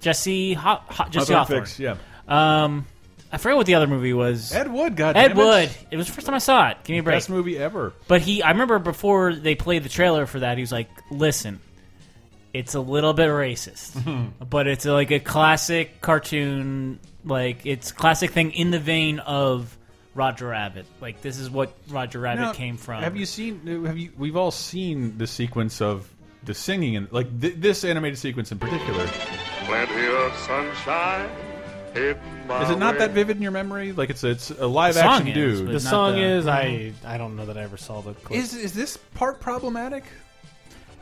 C: Jesse, Ho- Ho- Jesse
G: Hawthorne
C: Hawthorne.
G: Fix, yeah.
C: Um, I forget what the other movie was.
G: Ed Wood, God
C: Ed
G: damn it.
C: Wood. It was the first time I saw it. Give me a break.
G: Best movie ever.
C: But he, I remember before they played the trailer for that, he was like, "Listen, it's a little bit racist, but it's like a classic cartoon, like it's classic thing in the vein of Roger Rabbit. Like this is what Roger Rabbit
G: Now,
C: came from."
G: Have you seen? Have you? We've all seen the sequence of the singing and like th this animated sequence in particular.
J: Plenty of sunshine. Hit my
G: Is it not
J: way.
G: that vivid in your memory? Like it's a, it's a live
I: The song
G: action
I: is,
G: dude.
I: but The not song the- Mm-hmm. is, I- I don't know that I ever saw the clip.
G: Is is this part problematic?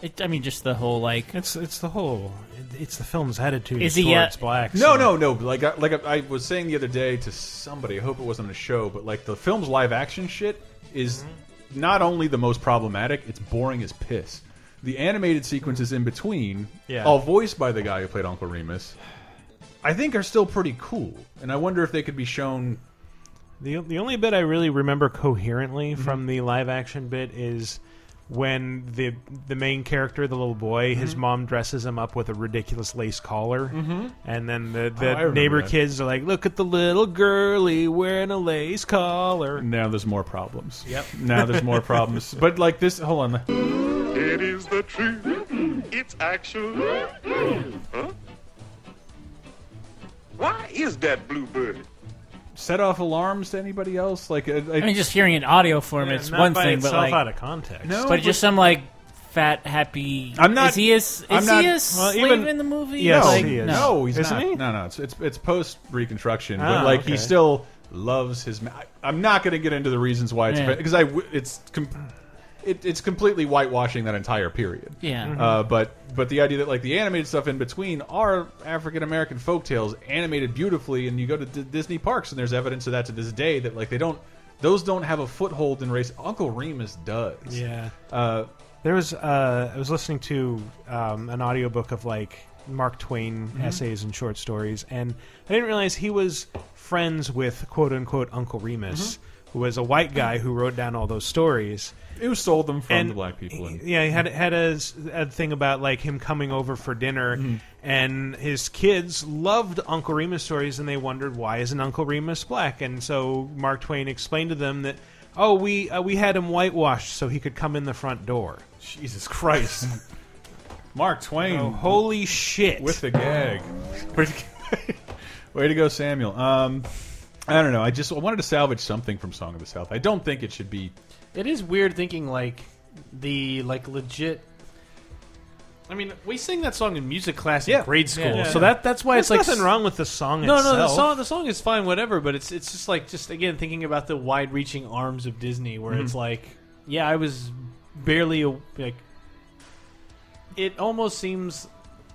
C: It, I mean, just the whole like
I: it's it's the whole it's the film's attitude.
C: Is he
I: towards
C: yet-
I: blacks?
G: No, no, no. Like I, like I, I was saying the other day to somebody. I hope it wasn't a show, but like the film's live action shit is not only the most problematic, it's boring as piss. The animated sequences in between,
I: Yeah.
G: all voiced by the guy who played Uncle Remus, I think are still pretty cool. And I wonder if they could be shown
I: The the only bit I really remember coherently
C: Mm-hmm.
I: from the live action bit is when the the main character, the little boy, his
H: Mhm.
C: Mm-hmm.
I: mom dresses him up with a ridiculous lace collar,
H: Mhm.
I: and then the,
H: Oh, I
I: the
H: remember
I: neighbor
H: that.
I: kids are like, "Look at the little girly wearing a lace collar."
C: Mm,
G: Now there's more problems.
I: Yep.
G: Now there's more <laughs> problems. But like this, hold on.
J: It is the truth. It's actual. Huh? Why is that bluebird?
G: set off alarms to anybody else? Like, I,
C: I mean, just hearing an audio form,
I: Yeah,
C: it's
I: not
C: one
I: by
C: thing, but
I: itself
C: like
I: out of context.
C: No,
I: No,
C: but,
I: but-
C: just some like fat happy.
G: I'm not.
C: Is he a, is
G: I'm
C: he
G: not,
C: a slave in the movie?
G: No,
C: Like,
G: he is.
C: No.
G: no, he's
C: Isn't
G: not.
C: he?
G: No, no, it's it's, it's post Reconstruction,
C: Ah,
G: but like
C: okay.
G: he still loves his. Ma I, am not going to get into the reasons why it's
C: Yeah.
G: because I w- it's com it, it's completely whitewashing that entire period.
C: Yeah. Mhm.
G: Uh, but but the idea that like the animated stuff in between are African American folktales animated beautifully, and you go to D Disney parks and there's evidence of that to this day that like they don't Those don't have a foothold in race. Uncle Remus does.
H: Yeah. there was uh, I was listening to um, an audiobook of like Mark Twain
G: Mhm.
H: essays and short stories, and I didn't realize he was friends with quote unquote Uncle Remus, who was a white guy who wrote down all those stories.
G: Who sold them from
H: And-
G: the black people? And,
H: Yeah, he had had a, s- a thing about like him coming over for dinner,
G: Mm-hmm.
H: and his kids loved Uncle Remus stories, and they wondered why isn't Uncle Remus black? And so Mark Twain explained to them that oh, we uh, we had him whitewashed so he could come in the front door.
G: Jesus Christ, <laughs> Mark Twain,
I: Oh,
H: holy shit,
G: Mm-hmm. with the gag.
H: <laughs>
G: Way to go, Samuel. Um, I don't know. I just I wanted to salvage something from Song of the South. I don't think it should be
I: It is weird thinking like the like legit. I mean, we sing that song in music class in grade school, so that that's why it's
H: There's
I: like
H: nothing wrong with the song.
I: No,
H: itself.
I: no, the song the song is fine, whatever. But it's it's just like just again thinking about the wide reaching arms of Disney, where it's
H: Mhm.
I: like, yeah, I was barely a, like. It almost seems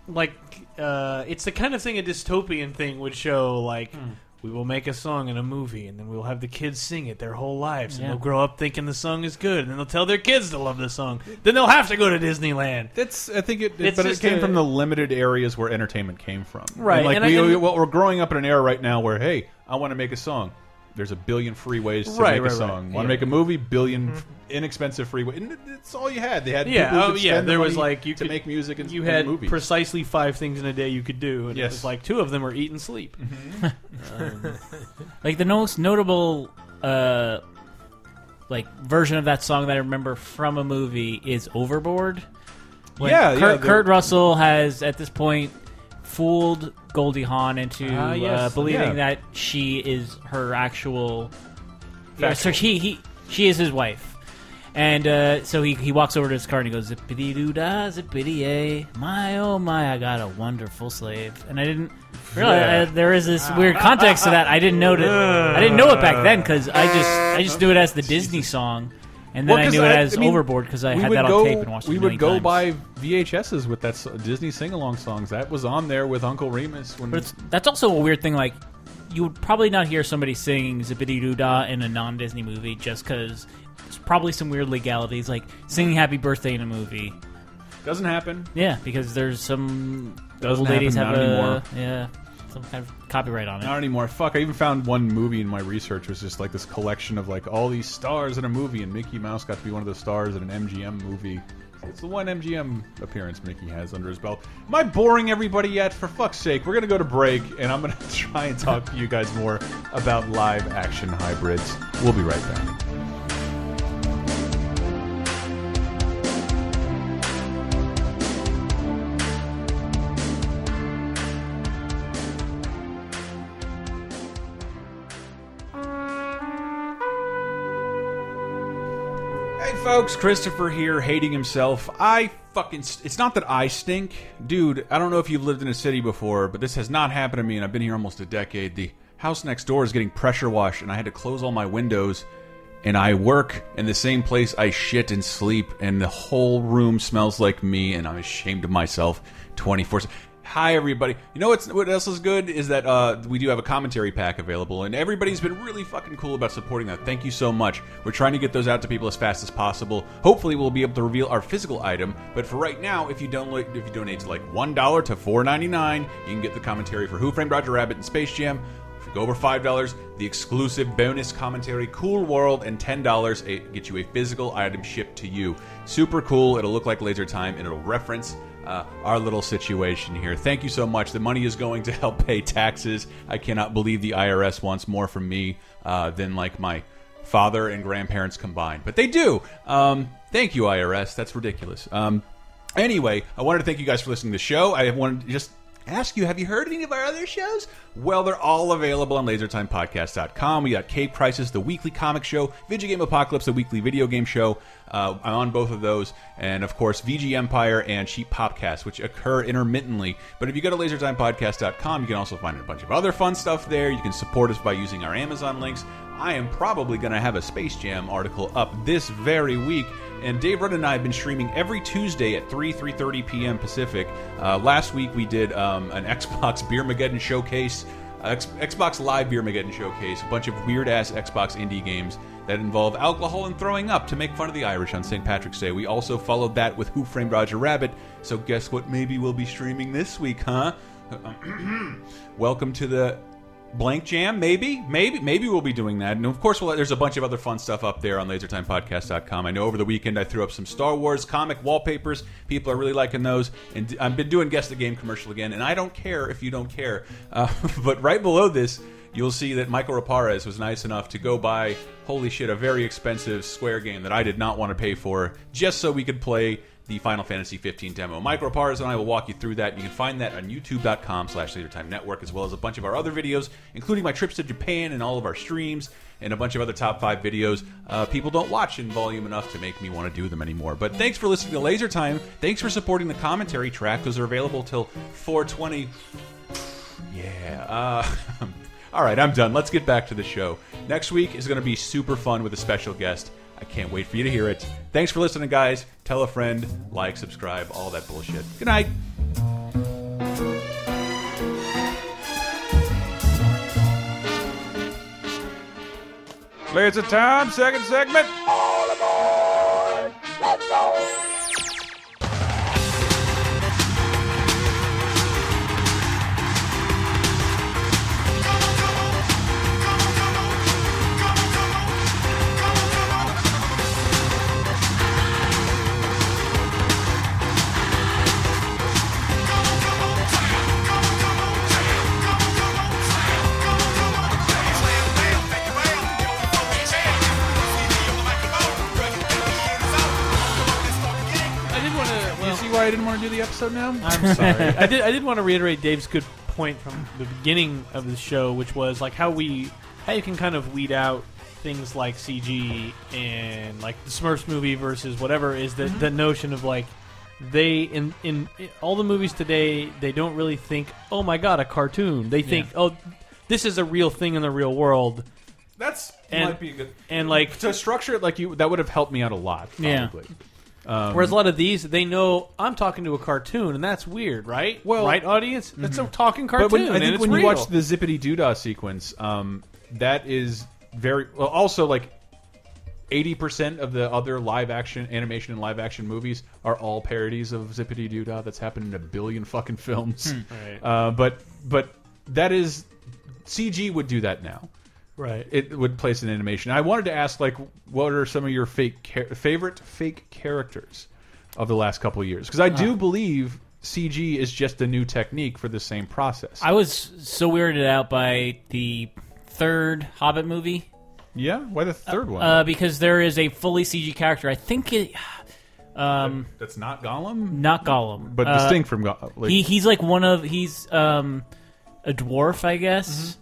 I: like uh, it's the kind of thing a dystopian thing would show, like.
H: Mm.
I: We will make a song in a movie, and then we'll have the kids sing it their whole lives,
H: Yeah.
I: and they'll grow up thinking the song is good, and then they'll tell their kids to love the song. Then they'll have to go to Disneyland.
G: That's I think
I: It's
G: but it
I: just
G: came
I: a-
G: from the limited areas where entertainment came from.
I: Right,
G: And like
I: and I
G: we,
I: can-
G: well, we're growing up in an era right now where hey, I want to make a song. There's a billion free ways to
I: Right,
G: make
I: right,
G: a
I: right.
G: song. Want to
I: Yeah. Mm-hmm.
G: make a movie? 1000000000 inexpensive free ways. That's all you had. They had
I: yeah,
G: people who
I: oh,
G: could
I: yeah.
G: spend the
I: There was
G: money
I: like you
G: to
I: could,
G: make music and
I: you
G: and
I: had
G: movies.
I: precisely five things in a day you could do, and
G: Yes.
I: it was like two of them were eat and
G: <laughs>
I: sleep. Um,
C: like the most notable uh like version of that song that I remember from a movie is Overboard. When
G: Yeah, yeah,
C: Kurt,
G: the-
C: Kurt Russell has at this point fooled Goldie Hawn into
I: Ah,
C: uh,
I: yes.
C: believing
I: Yeah.
C: that she is her actual.
I: Factual.
C: Yeah, so he, he she is his wife, and uh, so he, he walks over to his car and he goes zippity doo dah zippity yay my oh my I got a wonderful slave and I didn't realize
I: Yeah.
C: uh, there is this weird context to that I didn't know it I didn't know it back then because I just I just knew it as the Disney song, and then
G: Well,
C: I
G: 'cause
C: knew it as
G: I mean,
C: Overboard because I
G: we
C: had
G: would
C: that on
G: go-
C: tape and watched
G: We
C: it.
G: would
C: many
G: go
C: times.
G: buy VHSs with that s- Disney sing-along songs. That was on there with Uncle Remus when
C: But it's, that's also a weird thing. Like, you would probably not hear somebody singing Zippity Doo Dah in a non Disney movie just because there's probably some weird legalities, like singing Happy Birthday in a movie.
G: Doesn't happen.
C: Yeah, because there's some
G: Doesn't
C: old ladies
G: happen,
C: have
G: not
C: a
G: anymore.
C: yeah some kind of copyright on it.
G: Not anymore. Fuck, I even found one movie in my research It was just like this collection of like all these stars in a movie, and Mickey Mouse got to be one of the stars in an MGM movie. So It's the one MGM appearance Mickey has under his belt. Am I boring everybody yet? For fuck's sake, we're gonna go to break, and I'm gonna <laughs> try and talk to you guys more about live action hybrids. We'll be right back. Hey folks, Christopher here, hating himself. I fucking. St it's not that I stink, dude. I don't know if you've lived in a city before, but this has not happened to me, and I've been here almost a decade. The house next door is getting pressure washed, and I had to close all my windows. And I work in the same place I shit and sleep, and the whole room smells like me, and I'm ashamed of myself. Twenty four. Hi everybody. You know what's what else is good is that uh, we do have a commentary pack available, and everybody's been really fucking cool about supporting that. Thank you so much. We're trying to get those out to people as fast as possible. Hopefully, we'll be able to reveal our physical item. But for right now, if you donate, if you donate to like one dollar to four ninety nine, you can get the commentary for Who Framed Roger Rabbit and Space Jam. If you go over five dollars, the exclusive bonus commentary Cool World, and ten dollars get you a physical item shipped to you. Super cool. It'll look like Laser Time, and it'll reference uh, our little situation here. Thank you so much. The money is going to help pay taxes. I cannot believe the IRS wants more from me uh, than like my father and grandparents combined, but they do. Um, thank you, IRS. That's ridiculous. Um, anyway, I wanted to thank you guys for listening to the show. I wanted to just ask you have you heard any of our other shows well they're all available on lasertimepodcast.com we got cape crisis the weekly comic show video game apocalypse the weekly video game show uh, i'm on both of those and of course vg empire and cheap popcast which occur intermittently but if you go to lasertimepodcast.com you can also find a bunch of other fun stuff there you can support us by using our amazon links i am probably going to have a space jam article up this very week and Dave Rudd and I have been streaming every Tuesday at 3, 3.30 p.m. Pacific. Uh, last week we did um, an <laughs> Xbox Beermageddon Showcase, uh, X Xbox Live Beermageddon Showcase, a bunch of weird-ass Xbox indie games that involve alcohol and throwing up to make fun of the Irish on St. Patrick's Day. We also followed that with Who Framed Roger Rabbit. So guess what? Maybe we'll be streaming this week, huh? <clears throat> Welcome to the blank jam. Maybe, maybe, maybe we'll be doing that. And of course, we'll, there's a bunch of other fun stuff up there on LaserTimePodcast.com. I know over the weekend I threw up some Star Wars comic wallpapers. People are really liking those. And d- I've been doing guess the game commercial again. And I don't care if you don't care. Uh, <laughs> but right below this you'll see that Michael Raparez was nice enough to go buy, holy shit, a very expensive Square game that I did not want to pay for, just so we could play the Final Fantasy 15 demo. Michael Raparez and I will walk you through that. You can find that on youtube.com slash LaserTime Network, as well as a bunch of our other videos, including my trips to Japan and all of our streams, and a bunch of other top five videos uh, people don't watch in volume enough to make me want to do them anymore. But thanks for listening to Laser Time. Thanks for supporting the commentary track. Those are available till 420. Yeah. Uh, <laughs> all right, I'm done. Let's get back to the show. Next week is going to be super fun with a special guest. I can't wait for you to hear it. Thanks for listening, guys. Tell a friend, like, subscribe, all that bullshit. Good night.
N: Laser time, second segment.
I: I did want to.
G: you see why I didn't want to do the episode now?
I: I'm sorry. I did. I did want to reiterate Dave's good point from the beginning of the show, which was like how we, how you can kind of weed out things like CG and like the Smurfs movie versus whatever is the
H: Mhm.
I: the notion of like they in, in in all the movies today they don't really think oh my god a cartoon they think oh this is a real thing in the real world
G: That's
I: and,
G: might be a good.
I: and like
G: to structure it like you that would have helped me out a lot probably. Um,
I: Whereas a lot of these, they know I'm talking to a cartoon, and that's weird, right? Well, right, audience, it's a talking cartoon.
G: mm-hmm. But when, I
I: and
G: think
I: it's
G: when you
I: real.
G: watch the zippity doodah sequence, um, that is very well, also like. 80% of the other live action animation and live action movies are all parodies of Zippity Doodah that's happened in a billion fucking films. <laughs>
I: Hmm. Right.
G: Uh, but but that is CG would do that now.
I: Right.
G: It would place an animation. I wanted to ask like what are some of your fake char favorite fake characters of the last couple of years? Cuz I do
C: Ah.
G: believe CG is just a new technique for the same process.
C: I was so weirded out by the third Hobbit movie.
G: Yeah, why the third one?
C: Uh, because there is a fully CG character. I think it. Um,
G: That's not Gollum.
C: Not Gollum,
G: But
C: Uh,
G: distinct from Go- like-
C: he he's like one of he's um a dwarf, I
G: Mm-hmm.
C: guess.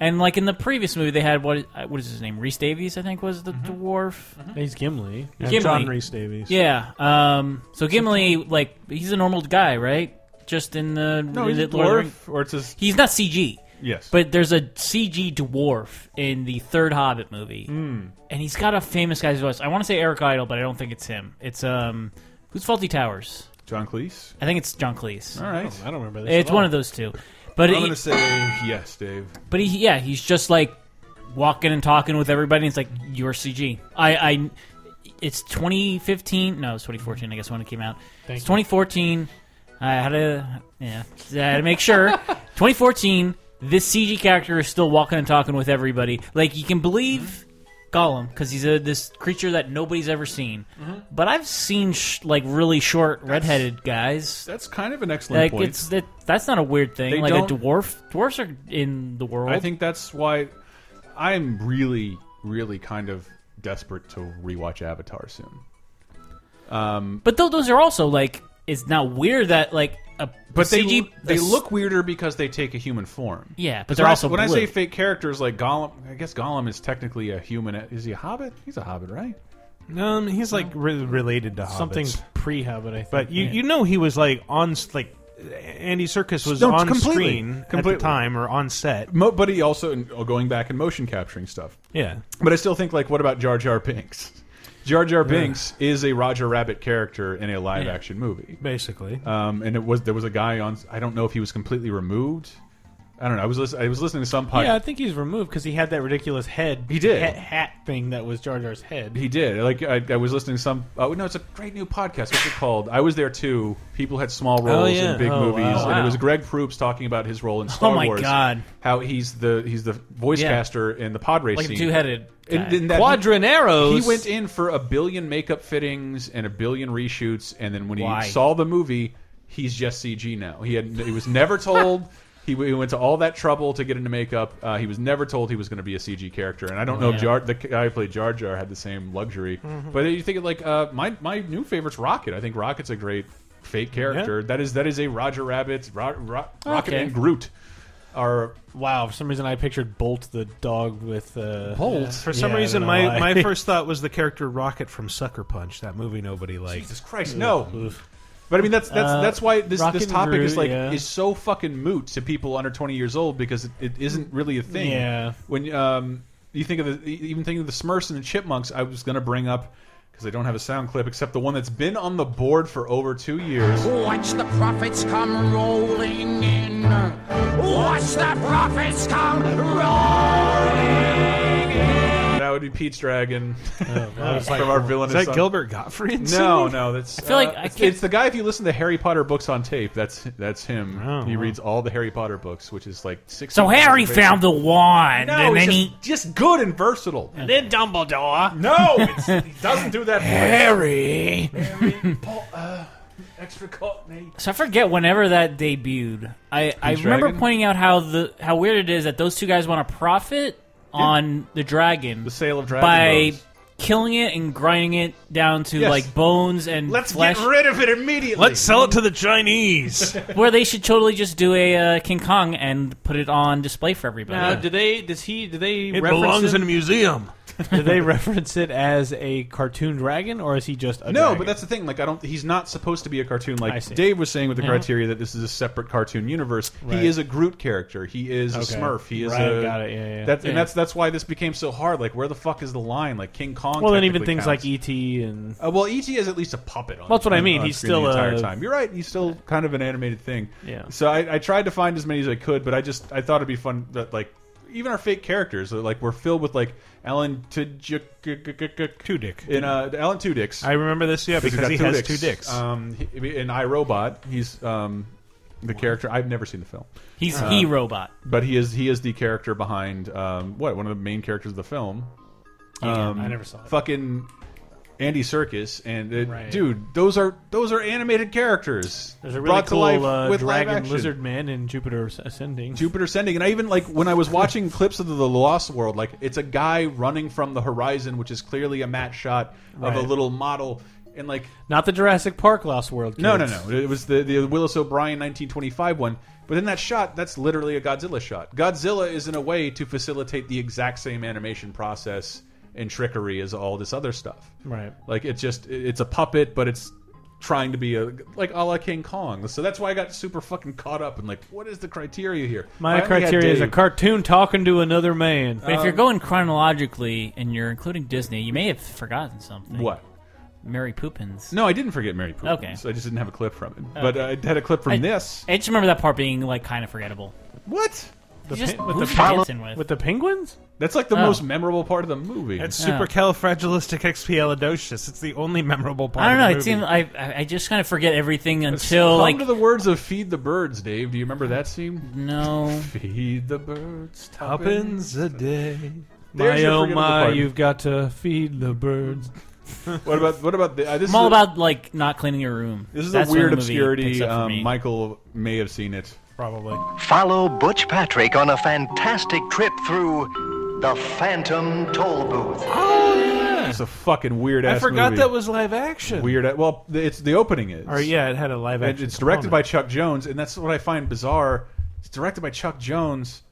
C: And like in the previous movie, they had what uh, what is his name? Reese Davies, I think, was the
G: Mm-hmm.
C: dwarf.
I: He's Gimli.
H: Yeah,
C: Gimli.
H: John Rhys Davies.
C: Yeah. Um. So Gimli, like, he's a normal guy, right? Just in the
G: No, he's
C: in
G: a
C: the Lord of the
G: dwarf,
C: Rings.
G: or it's his-
C: he's not CG.
G: Yes.
C: But there's a CG dwarf in the third Hobbit movie,
G: Hmm.
C: and he's got a famous guy's voice. I want to say Eric Idle, but I don't think it's him. It's um, who's Faulty Towers?
G: John Cleese.
C: I think it's John Cleese.
G: All right. I don't remember this at
C: It's one
G: all.
C: of those two. But
G: I'm
C: he-
G: gonna say yes, Dave.
C: But he, yeah, he's just like walking and talking with everybody. And it's like your CG. I, I, it's 2015. No, it's 2014. I guess when it came out.
I: Thank
C: it's
I: you.
C: 2014. I had to, yeah, I had to
I: <laughs>
C: make sure. 2014. This CG character is still walking and talking with everybody. Like you can believe Gollum because he's a this creature that nobody's ever seen.
I: Mm-hmm.
G: Mhm.
C: But I've seen sh- like really short redheaded guys.
G: That's kind of an excellent
C: like,
G: point.
C: It's that that's not a weird thing.
G: They
C: like a
G: don't-
C: dwarf. Dwarfs are in the world.
G: I think that's why I'm really, really kind of desperate to rewatch Avatar soon. Um,
C: But though those are also like, it's not weird that like a
G: but they
C: CG
G: they
C: a s-
G: look weirder because they take a human form.
C: Yeah, but
G: 'Cause
C: they're
G: when I-
C: also
G: when I
C: blue.
G: say fake characters like Gollum, I guess Gollum is technically a human. Is he a hobbit? He's a hobbit, right?
H: Um, he's like re- related to
G: Something
H: pre-Hobbit, I think. But you
G: Yeah.
H: you know he was like on s- like Andy Circus was
G: No,
H: on
G: completely.
H: screen
G: Completely.
H: at the time or on set.
G: Mo but he also and going back and motion capturing stuff.
H: Yeah.
G: But I still think like, what about Jar Jar Binks? Jar Jar
H: Yeah.
G: Binks is a Roger Rabbit character in a live
H: Yeah.
G: action movie,
H: basically.
G: Um, and it was there was a guy on. I don't know if he was completely removed. I don't know. I was lis- I was listening to some podcast.
I: Yeah, I think he's removed because he had that ridiculous head. He
G: did.
I: hat, hat thing that was Jar Jar's head.
G: He did. Like I, I was listening to some. Oh no, it's a great new podcast. What's it called? I was there too. People had small roles
I: Oh, yeah.
G: in big
I: Oh,
G: movies,
I: wow.
G: and it
I: Wow. Oh,
G: was Greg Proops talking about his role in Star
C: my
G: Wars.
C: God.
G: How he's the he's the voice
C: Yeah.
G: caster in the pod race.
C: Like the
G: scene.
C: two-headed
G: In-
C: guy.
G: in that-
I: Quadraneros.
G: He went in for a billion makeup fittings and a billion reshoots, and then when he
I: Why?
G: saw the movie, he's just CG now. He had he was never told.
I: <laughs>
G: He w- he went to all that trouble to get into makeup. Uh, he was never told he was going to be a CG character, and I don't know if
I: Yeah.
G: Jar, the guy who played Jar Jar had the same luxury.
I: Mhm.
G: But you think like uh, my my new favorite's Rocket. I think Rocket's a great fake character.
I: Yeah.
G: That is that is a Roger Rabbit, Ro Ro Rocket
I: Okay.
G: and Groot. Are
I: wow! For some reason, I pictured Bolt the dog with uh,
H: Yeah, For some
I: Yeah, I
H: reason,
I: don't know
H: my,
I: why. <laughs>
H: my first thought was the character Rocket from Sucker Punch, that movie nobody liked. Jesus
G: Christ, no. But I mean that's that's
H: Uh,
G: that's why this
H: Rocket
G: this
H: and
G: topic is
H: Groot,
G: like
H: yeah.
G: is so fucking moot to people under twenty years old because it, it isn't really a thing.
I: Yeah.
G: When um you think of the even thinking of the Smurfs and the Chipmunks, I was gonna bring up because I don't have a sound clip except the one that's been on the board for over two years.
N: Watch the profits come rolling in. Watch the profits come rolling in.
G: That would be Pete's Dragon
H: Oh, wow. It's
G: <laughs>
H: like-
G: from our villainous.
H: is that
G: song.
H: Gilbert Gottfried in
G: No,
H: singing?
G: no, that's.
H: I feel like
G: uh,
H: I
G: it's,
H: can't-
G: it's the guy. If you listen to Harry Potter books on tape, that's that's him.
H: Oh,
G: he reads all the Harry Potter books, which is like six.
C: So Harry found the wand,
G: No,
C: and
G: he's
C: then
G: just, just good and versatile.
C: And then Dumbledore.
G: No, it's, he doesn't do that. voice.
C: Harry.
G: Harry Potter. Uh, extra Cockney.
C: So I forget whenever that debuted. I, I
G: Pete's
C: remember
G: Dragon?
C: pointing out how the how weird it is that those two guys want to profit on the dragon, the
G: sale of dragon
C: by
G: bones.
C: killing it and grinding it down to
G: Yes.
C: like bones and flesh.
G: rid of it immediately.
H: <laughs> Let's sell it to
I: <laughs>
H: the Chinese.
C: where they should totally just do a uh, King Kong and put it on display for everybody.
I: Now, do they? Does he? Do they?
H: It
I: reference
H: belongs
I: it-
H: in a museum.
I: <laughs> do they
H: <laughs>
I: reference it as a cartoon dragon, or is he just a
G: no,
I: dragon?
G: but that's the thing. Like, I don't. He's not supposed to be a cartoon.
I: I
G: Like
I: see.
G: Dave was saying with the
I: Yeah.
G: criteria that this is a separate cartoon universe.
I: Right.
G: He is a Groot character. He is
I: Okay.
G: a Smurf. He is
I: Right,
G: a.
I: got it, yeah, yeah, yeah.
G: That's,
I: Yeah.
G: And that's that's why this became so hard. Like, where the fuck is the line? Like King Kong.
I: well, then even
G: technically
I: things
G: counts.
I: like ET and
G: Uh, well, E.T. is at least a puppet. On,
I: That's what I
G: on-
I: mean.
G: on
I: He's
G: screen
I: still
G: the entire
I: a-
G: time. You're right. He's still kind of an animated thing.
I: Yeah.
G: So I, I tried to find as many as I could, but I just I thought it'd be fun that like even our fake characters are, like we're filled with like Alan Tudyk Tudyk in uh Alan Tudyk's.
H: I remember this, yeah,
G: he's
H: because
G: got
H: he has two dicks. Uh,
G: Um, he, in iRobot, he's um the character. I've never seen the film.
C: He's
G: Uh,
C: he robot.
G: but he is he is the character behind um, what one of the main characters of the film.
I: Yeah, I never saw it.
G: Fucking Andy Circus and uh,
I: Right.
G: dude, those are those are animated characters.
I: there's a really
G: brought
I: cool
G: to life
I: uh,
G: with live
I: dragon
G: action.
I: lizard man in Jupiter Ascending.
G: Jupiter Sending, and I even like when I was watching <laughs> clips of the Lost World, like it's a guy running from the horizon, which is clearly a matte shot of a
I: Right.
G: little model, and like
I: Not the Jurassic Park Lost World. Kids.
G: no, no, no. It was the, the Willis O'Brien 1925 one. But in that shot, that's literally a Godzilla shot. Godzilla is in a way to facilitate the exact same animation process and trickery as all this other stuff.
I: Right.
G: Like it's just it's a puppet, but it's trying to be a like a la King Kong. So that's why I got super fucking caught up and like, what is the criteria here? I
I: My
G: only had
I: criteria is a
G: Dave.
I: cartoon talking to another man.
C: But if
G: Um,
C: you're going chronologically and you're including Disney, you may have forgotten something.
G: What?
C: Mary Poopins.
G: No, I didn't forget Mary Poppins.
C: Okay.
G: I just didn't have a clip from it. But I had a clip from
C: I-
G: this.
C: I just remember that part being like kind of forgettable.
G: What?
C: The just
I: pin-
C: with
I: with
C: the
I: the
C: dancing
I: pile-
C: with.
I: with the penguins?
G: That's like the
C: Oh.
G: most memorable part of the movie.
H: It's supercalifragilisticexpialidocious. It's the only memorable part.
C: I don't
H: of
C: know.
H: the
C: It seemed
H: movie.
C: I I- I just kind of forget everything until
G: Come
C: like
G: to the words of "Feed the Birds," Dave. Do you remember that scene? <laughs>
C: No.
G: Feed the birds
H: Tuppence a day.
G: There's
I: my
G: your
I: oh
G: forgettable
I: my,
G: part.
I: you've got to feed the birds.
G: What about what about the? Uh, this
C: I'm all
G: is a-
C: about like not cleaning your room.
G: this is
C: That's
G: a
C: when
G: weird
C: the movie picks
G: obscurity.
C: up for
G: Um,
C: me.
G: Michael may have seen it.
H: Probably.
O: Follow Butch Patrick on a fantastic trip through the Phantom Toll Booth.
G: It's a fucking weird.
H: I
G: ass
H: forgot
G: movie.
H: that was live action.
G: weird. a- Well, th- it's the opening is.
H: Or, yeah, it had a live
G: And
H: action
G: It's directed by Chuck Jones, and that's what I find bizarre. It's directed by Chuck Jones,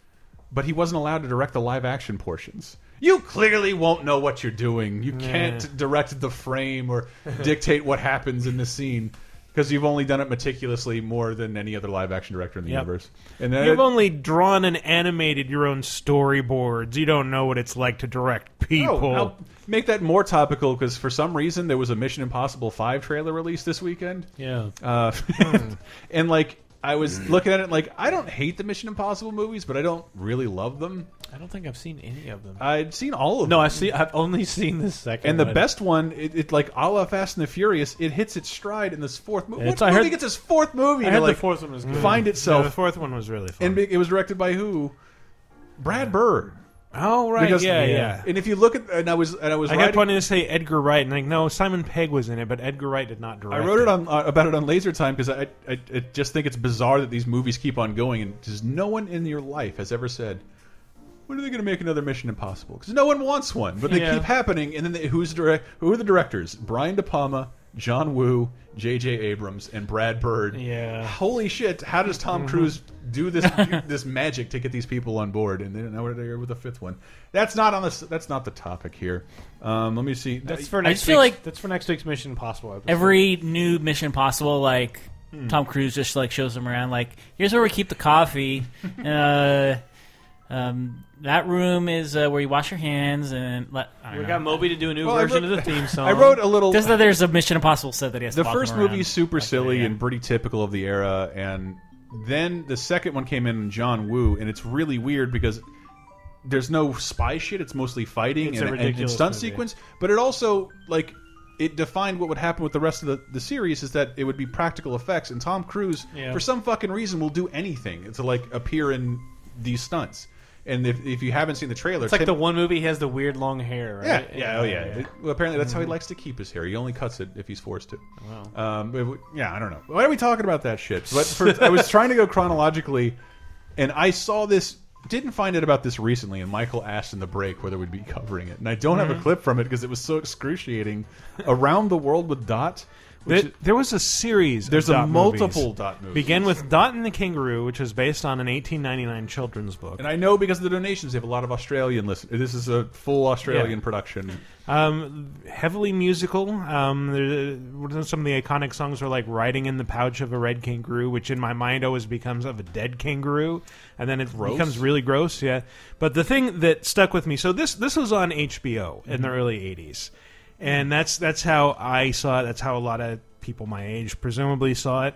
G: but he wasn't allowed to direct the live action portions. You clearly won't know what you're doing. You
I: Nah.
G: can't direct the frame or dictate what happens in the scene because you've only done it meticulously more than any other live action director in the
H: Yep.
G: universe. And then
H: You've only drawn and animated your own storyboards. You don't know what it's like to direct people.
G: Oh, I'll make that more topical because for some reason there was a Mission Impossible Five trailer released this weekend.
I: Yeah.
G: uh, <laughs> and like I was looking at it like I don't hate the Mission Impossible movies, but I don't really love them.
I: I don't think I've seen any of them.
G: I'd seen all of
I: No,
G: them.
I: I've seen- I've only seen the second
G: And the
I: one.
G: best one, it, it like a la Fast and the Furious, it hits its stride in this fourth movie.
I: It's-
G: what
I: I
G: movie
I: heard-
G: gets its fourth movie?
I: I
G: to,
I: heard the
G: like,
I: fourth one was good.
G: Find
I: Yeah,
G: itself.
I: the fourth one was really fun.
G: And be- it was directed by who? Brad Bird.
I: Oh right,
G: Because-
I: yeah, yeah.
G: And if you look at and I was and I was
H: I
G: writing-
H: kept wanting to say Edgar Wright, and like, no, Simon Pegg was in it, but Edgar Wright did not direct.
G: I wrote it on uh, about it on Laser Time because I, I I just think it's bizarre that these movies keep on going and just no one in your life has ever said, "When are they going to make another Mission Impossible?" Because no one wants one, but they
I: Yeah.
G: keep happening. And then they, who's direct? Who are the directors? Brian De Palma, John Woo, J.J. Abrams, and Brad Bird.
I: Yeah.
G: Holy shit! How does Tom
I: Mhm.
G: Cruise
I: <laughs>
G: do this this magic to get these people on board? And then now we're there with the fifth one. That's not on the s- that's not the topic here. Um, let me see.
I: That's for
G: I
I: next
G: feel
I: week's-
G: like-
I: that's for next week's Mission Impossible episode.
C: Every new Mission Possible, like
I: Hmm.
C: Tom Cruise just like shows them around. Like, here's where we keep
I: <laughs>
C: the coffee. uh, um, that room is uh, where you wash your hands, and let, I don't
I: we
C: know.
I: got Moby to do a new
C: Well, I
I: version
C: wrote-
I: of the theme song.
G: <laughs> I wrote a little.
C: Just that there's a Mission Impossible set that he has. to
G: The
C: walk
G: first
C: them around.
G: movie is super silly and pretty typical of the era, and then the second one came in John Woo, and it's really weird because there's no spy shit. It's mostly fighting
I: It's a
G: and, and- and
I: ridiculous
G: stunt
I: movie.
G: sequence, but it also like it defined what would happen with the rest of the, the series is that it would be practical effects, and Tom Cruise
I: Yeah.
G: for some fucking reason will do anything to like appear in these stunts. And if, if you haven't seen the trailer,
I: It's like
G: Tim-
I: the one movie he has the weird long hair. Right?
G: yeah, yeah, oh yeah. Well, apparently that's how he likes to keep his hair. He only cuts it if he's forced to. Wow. Um, but we- yeah, I don't know. Why are we talking about that shit? But for, I was trying to go chronologically, and I saw this. Didn't find out about this recently, and Michael asked in the break whether we'd be covering it, and I don't have a
H: Mhm.
G: clip from it because it was so excruciating. Around the world with Dot.
H: There, there was a series.
G: There's
H: of
G: a
H: Dot
G: multiple
H: movies.
G: Dot movies.
H: Began with Dot and the Kangaroo, which was based on an 1899 children's book.
G: and I know because of the donations, they have a lot of Australian listen. This is a full Australian production.
H: Um, heavily musical. Um, there, some of the iconic songs are like "Riding in the Pouch of a Red Kangaroo," which in my mind always becomes of a dead kangaroo, and then it
I: Gross.
H: becomes really gross. Yeah, but the thing that stuck with me. So this this was on HBO in the
G: Mm-hmm.
I: Mhm.
H: early '80s, and that's that's how I saw it. That's how a lot of people my age presumably saw it.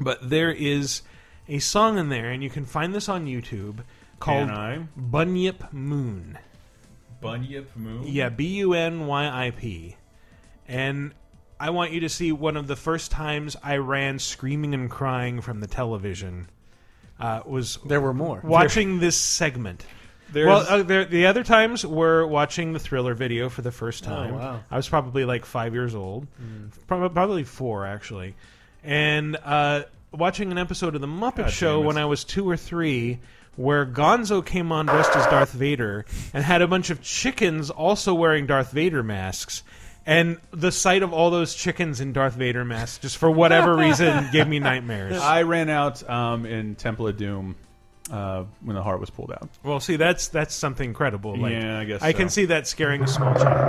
H: But there is a song in there, and you can find this on YouTube called
G: Can I?
H: "Bunyip Moon."
G: Bunyip Moon.
H: Yeah, B U N Y I P. And I want you to see one of the first times I ran screaming and crying from the television. Uh, was there were more watching this segment.
I: There's-
H: well, uh, there, the other times were watching the thriller video for the first
I: Oh,
H: time.
I: wow.
H: I was probably like five years old,
I: Mm.
H: Prob- probably four actually, and uh, watching an episode of the Muppet
I: God
H: Show
I: damn it.
H: when I was two or three, where Gonzo came on dressed as Darth Vader and had a bunch of chickens also wearing Darth Vader masks. And the sight of all those chickens in Darth Vader masks, just for
I: <laughs>
H: whatever reason, gave me nightmares.
G: I ran out um, in Temple of Doom uh, when the heart was pulled out.
H: Well, see, that's that's something credible. Like,
G: Yeah, I guess
H: I can
G: so.
H: see that scaring a small child.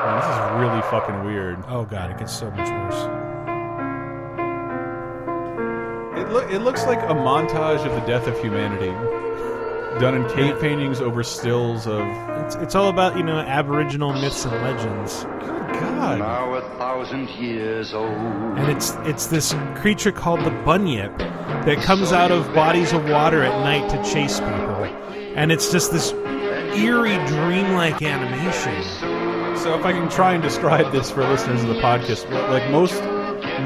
G: Man, this is really fucking weird.
H: Oh god, it gets so much worse.
G: It, loo- it looks like a montage of the death of humanity, done in cave paintings over stills of.
H: It's it's all about you know Aboriginal myths and legends.
P: Now a thousand years old.
H: and it's it's this creature called the bunyip that comes out of bodies of water at night to chase people, and it's just this eerie dreamlike animation.
G: So if I can try and describe this for listeners of the podcast, li- like most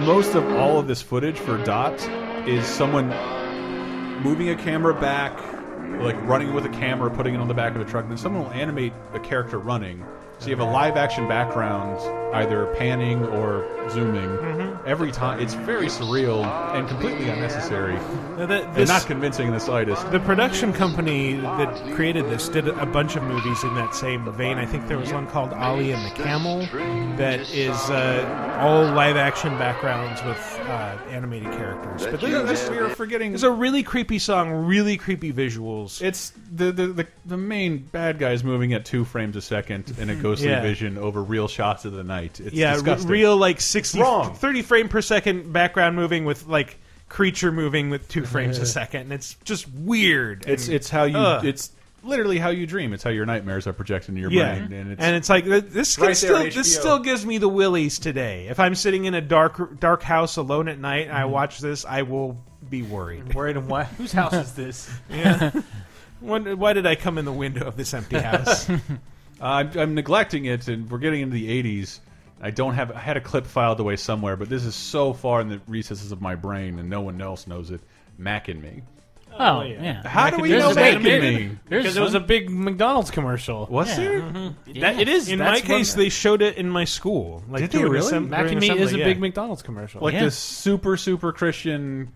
G: most of all of this footage for Dot is someone moving a camera back, like running with a camera, putting it on the back of a truck, and then someone will animate a character running. So
H: Mm-hmm.
G: you have a live action background, either panning or zooming.
H: Mm-hmm.
G: Every time, it's very surreal and completely unnecessary,
H: Now that-
G: and
H: this-
G: not convincing in the slightest.
H: The production company that created this did a bunch of movies in that same vein. I think there was one called Ali and the Camel that is uh, all live action backgrounds with uh, animated characters. But
G: Yeah, that's- we are forgetting-
H: There's a really creepy song, really creepy visuals.
G: It's the the, the the main bad guy is moving at two frames a second in a ghostly
H: Yeah.
G: vision over real shots of the night. It's
H: yeah, re-
G: disgusting.
H: real like 60,
G: Wrong.
H: 30 frame per second background moving with like creature moving with two frames a second. And it's just weird.
G: It's
H: and-
G: it's how you
H: Ugh.
G: it's literally how you dream. It's how your nightmares are projected into your
H: yeah,
G: brain. And it's,
H: like th- this
G: Right
H: can
G: there,
H: still this
G: HBO.
H: still gives me the willies today. If I'm sitting in a dark dark house alone at night and
I: Mm-hmm.
H: I watch this, I will be worried. Worried and what?
I: Whose house is this?
H: <laughs> yeah. When, why did I come in the window of this empty house?
G: I'm, I'm neglecting it, and we're getting into the 80s. I don't have. I had a clip filed away somewhere, but this is so far in the recesses of my brain, and no one else knows it. Mac and me.
C: Oh, yeah.
G: How do we know Mac and me?
I: Because it was a big McDonald's commercial.
G: Was
I: Yeah.
G: there?
I: Mhm. That- it is.
H: In
I: That's
H: my
I: one-
H: case, they showed it in my school. Like
G: Did they
H: during
G: really?
H: assem-
I: Mac
H: during
I: and Me is
H: assembly,
I: a
H: yeah.
I: big McDonald's commercial.
G: Like
I: Yeah.
G: this super super Christian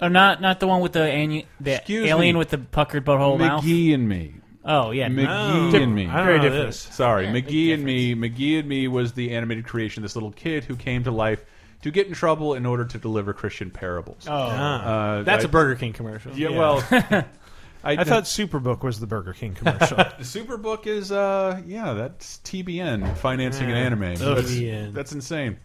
C: Oh, not not the one with the, anu- the
G: Excuse
C: alien
G: me.
C: with the puckered butthole mouth.
G: McGee and me.
C: Oh yeah,
G: McGee and me.
C: Very different.
G: Sorry, McGee and me. McGee and me was the animated creation of this little kid who came to life to get in trouble in order to deliver Christian parables.
H: Oh. Ah.
I: Uh,
H: That's
G: a
H: a Burger King commercial.
G: Yeah,
H: Yeah. <laughs>
G: well,
I: <laughs>
H: I, thought Superbook was the Burger King commercial.
G: The Superbook is, uh, yeah, that's TBN financing
H: Yeah.
G: an anime.
H: Ugh.
G: That's, that's insane.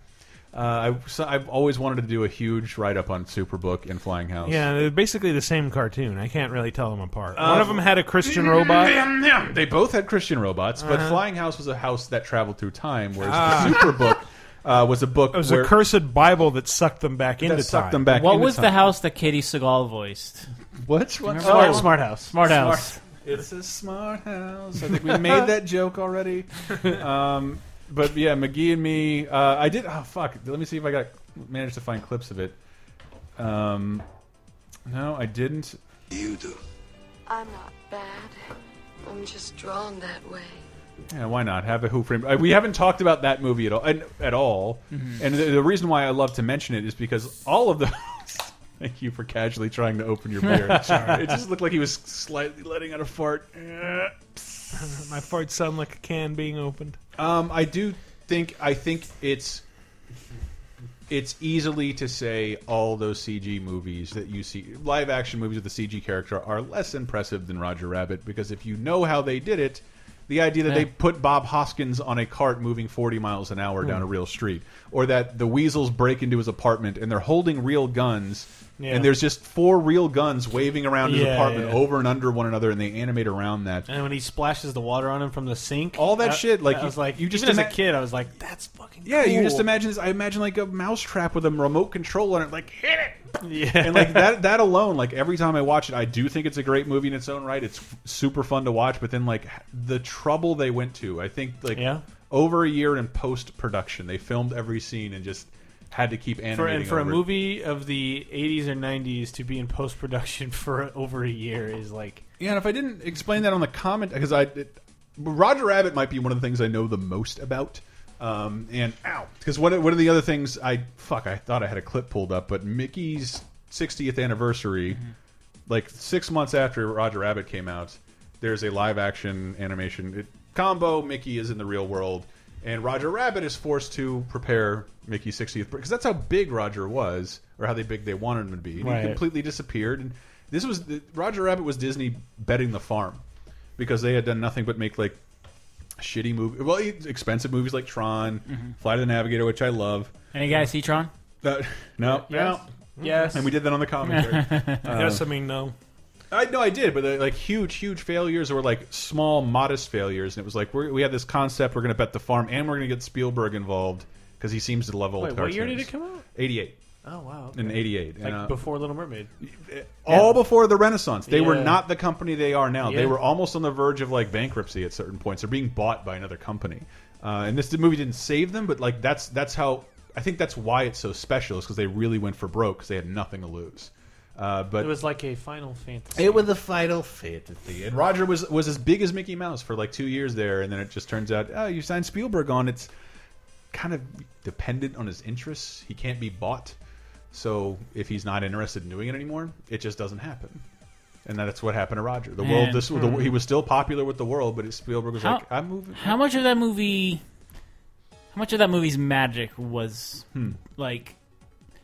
G: Uh, I, so I've always wanted to do a huge write up on Superbook and Flying House.
H: yeah, they're basically the same cartoon. I can't really tell them apart.
G: Uh,
H: One of them had a Christian robot.
G: They both had Christian robots, but
H: Uh-huh.
G: Flying House was a house that traveled through time, whereas
H: Ah.
G: the Superbook uh, was a book
H: It was
G: where
H: a cursed Bible that sucked them back into time.
C: What was the house that Katie Seagal voiced?
G: What?
C: Do you remember
H: Smart-
G: Oh.
C: that one?
H: Smart House.
C: Smart House.
G: It's a smart house. I think we made that joke
C: <laughs>
G: already. um, but yeah, McGee and me. Uh, I did. Oh fuck! Let me see if I got managed to find clips of it. Um, no, I didn't. You do.
Q: I'm not bad. I'm just drawn that way.
G: Yeah, why not have a Who Framed? uh, We haven't talked about that movie at all. and- At all,
C: Mm-hmm.
Q: Mhm.
G: and the, the reason why I love to mention it is because all of the. <laughs> Thank you for casually trying to open your
C: <laughs>
G: beer.
H: Sorry.
G: It just looked like he was slightly letting out a fart.
H: My fart sound like a can being opened.
G: Um, I do think I think it's it's easily to say all those CG movies that you see live action movies with the CG character are less impressive than Roger Rabbit because if you know how they did it, the idea that
H: Yeah.
G: they put Bob Hoskins on a cart moving 40 miles an hour down
H: Hmm.
G: a real street or that the weasels break into his apartment and they're holding real guns
H: Yeah.
G: and there's just four real guns waving around his
I: Yeah,
G: apartment
I: yeah.
G: over and under one another and they animate around that
I: And when he splashes the water on him from the sink,
G: All that shit, like,
I: I
G: you-
I: was like,
G: you just
I: even as a
G: ima-
I: kid, I was like, that's fucking.
G: Yeah, you just
I: cool.
G: imagine this. I imagine like a mousetrap with a remote control on it, like hit it.
I: Yeah.
G: and like that. That alone, like every time I watch it, I do think it's a great movie in its own right. It's f- super fun to watch, but then like the trouble they went to, I think like
I: Yeah.
G: over a year in post production, they filmed every scene and just had to keep
I: <laughs>
G: animating
I: For, and for a
G: over it.
I: movie of the 80s or 90s to be in post production <laughs> for over a year is like.
G: Yeah, and if I didn't explain that on the comment, because I it, Roger Rabbit might be one of the things I know the most about. Um, and ow, because one of- one of the other things I fuck, I thought I had a clip pulled up, but Mickey's 60th anniversary, like six months after Roger Rabbit came out, there's a live action animation it, combo. Mickey is in the real world, and Roger Rabbit is forced to prepare Mickey's 60th because that's how big Roger was, or how they big they wanted him to be. And
I: Right.
G: He completely disappeared, and this was Roger Rabbit was Disney betting the farm because they had done nothing but make like shitty movie, well, e, expensive movies like Tron,
I: Mm-hmm.
G: Fly to the Navigator, which I love.
C: Any guys see Tron?
G: Uh, <laughs> no,
C: Yes.
G: no,
C: Yes.
G: and we did that on
I: <laughs>
G: the commentary.
H: Mm-hmm.
I: Uh,
H: yes, I mean no.
G: I no, I did, but uh, like huge, huge failures or like small, modest failures, and it was like we're, we had this concept: we're going to bet the farm, and we're going to get Spielberg involved because he seems to love old
I: Wait,
G: cartoons.
I: what year did it come out?
G: Eighty-eight.
I: Oh, wow.
G: In
I: okay.
G: 88,
I: Like
G: and, uh,
I: before Little Mermaid.
G: All before the Renaissance, they were
I: Yeah.
G: not the company they are now. They
I: Yeah.
G: were almost on the verge of like bankruptcy at certain points. They're being bought by another company, uh, and this movie didn't save them. But like that's that's how I think that's why it's so special is because they really went for broke because they had nothing to lose. Uh, but
I: it was like a Final Fantasy.
G: it was a final fantasy, and Roger was was as big as Mickey Mouse for like two years there, and then it just turns out, oh, you signed Spielberg on. It's kind of dependent on his interests. He can't be bought, so if he's not interested in doing it anymore, it just doesn't happen. And that's what happened to Roger. The world,
C: Man.
G: this the, he was still popular with the world, but Spielberg was like, I'm moving.
C: How much of that movie? How much of that movie's magic was
G: Hmm.
C: like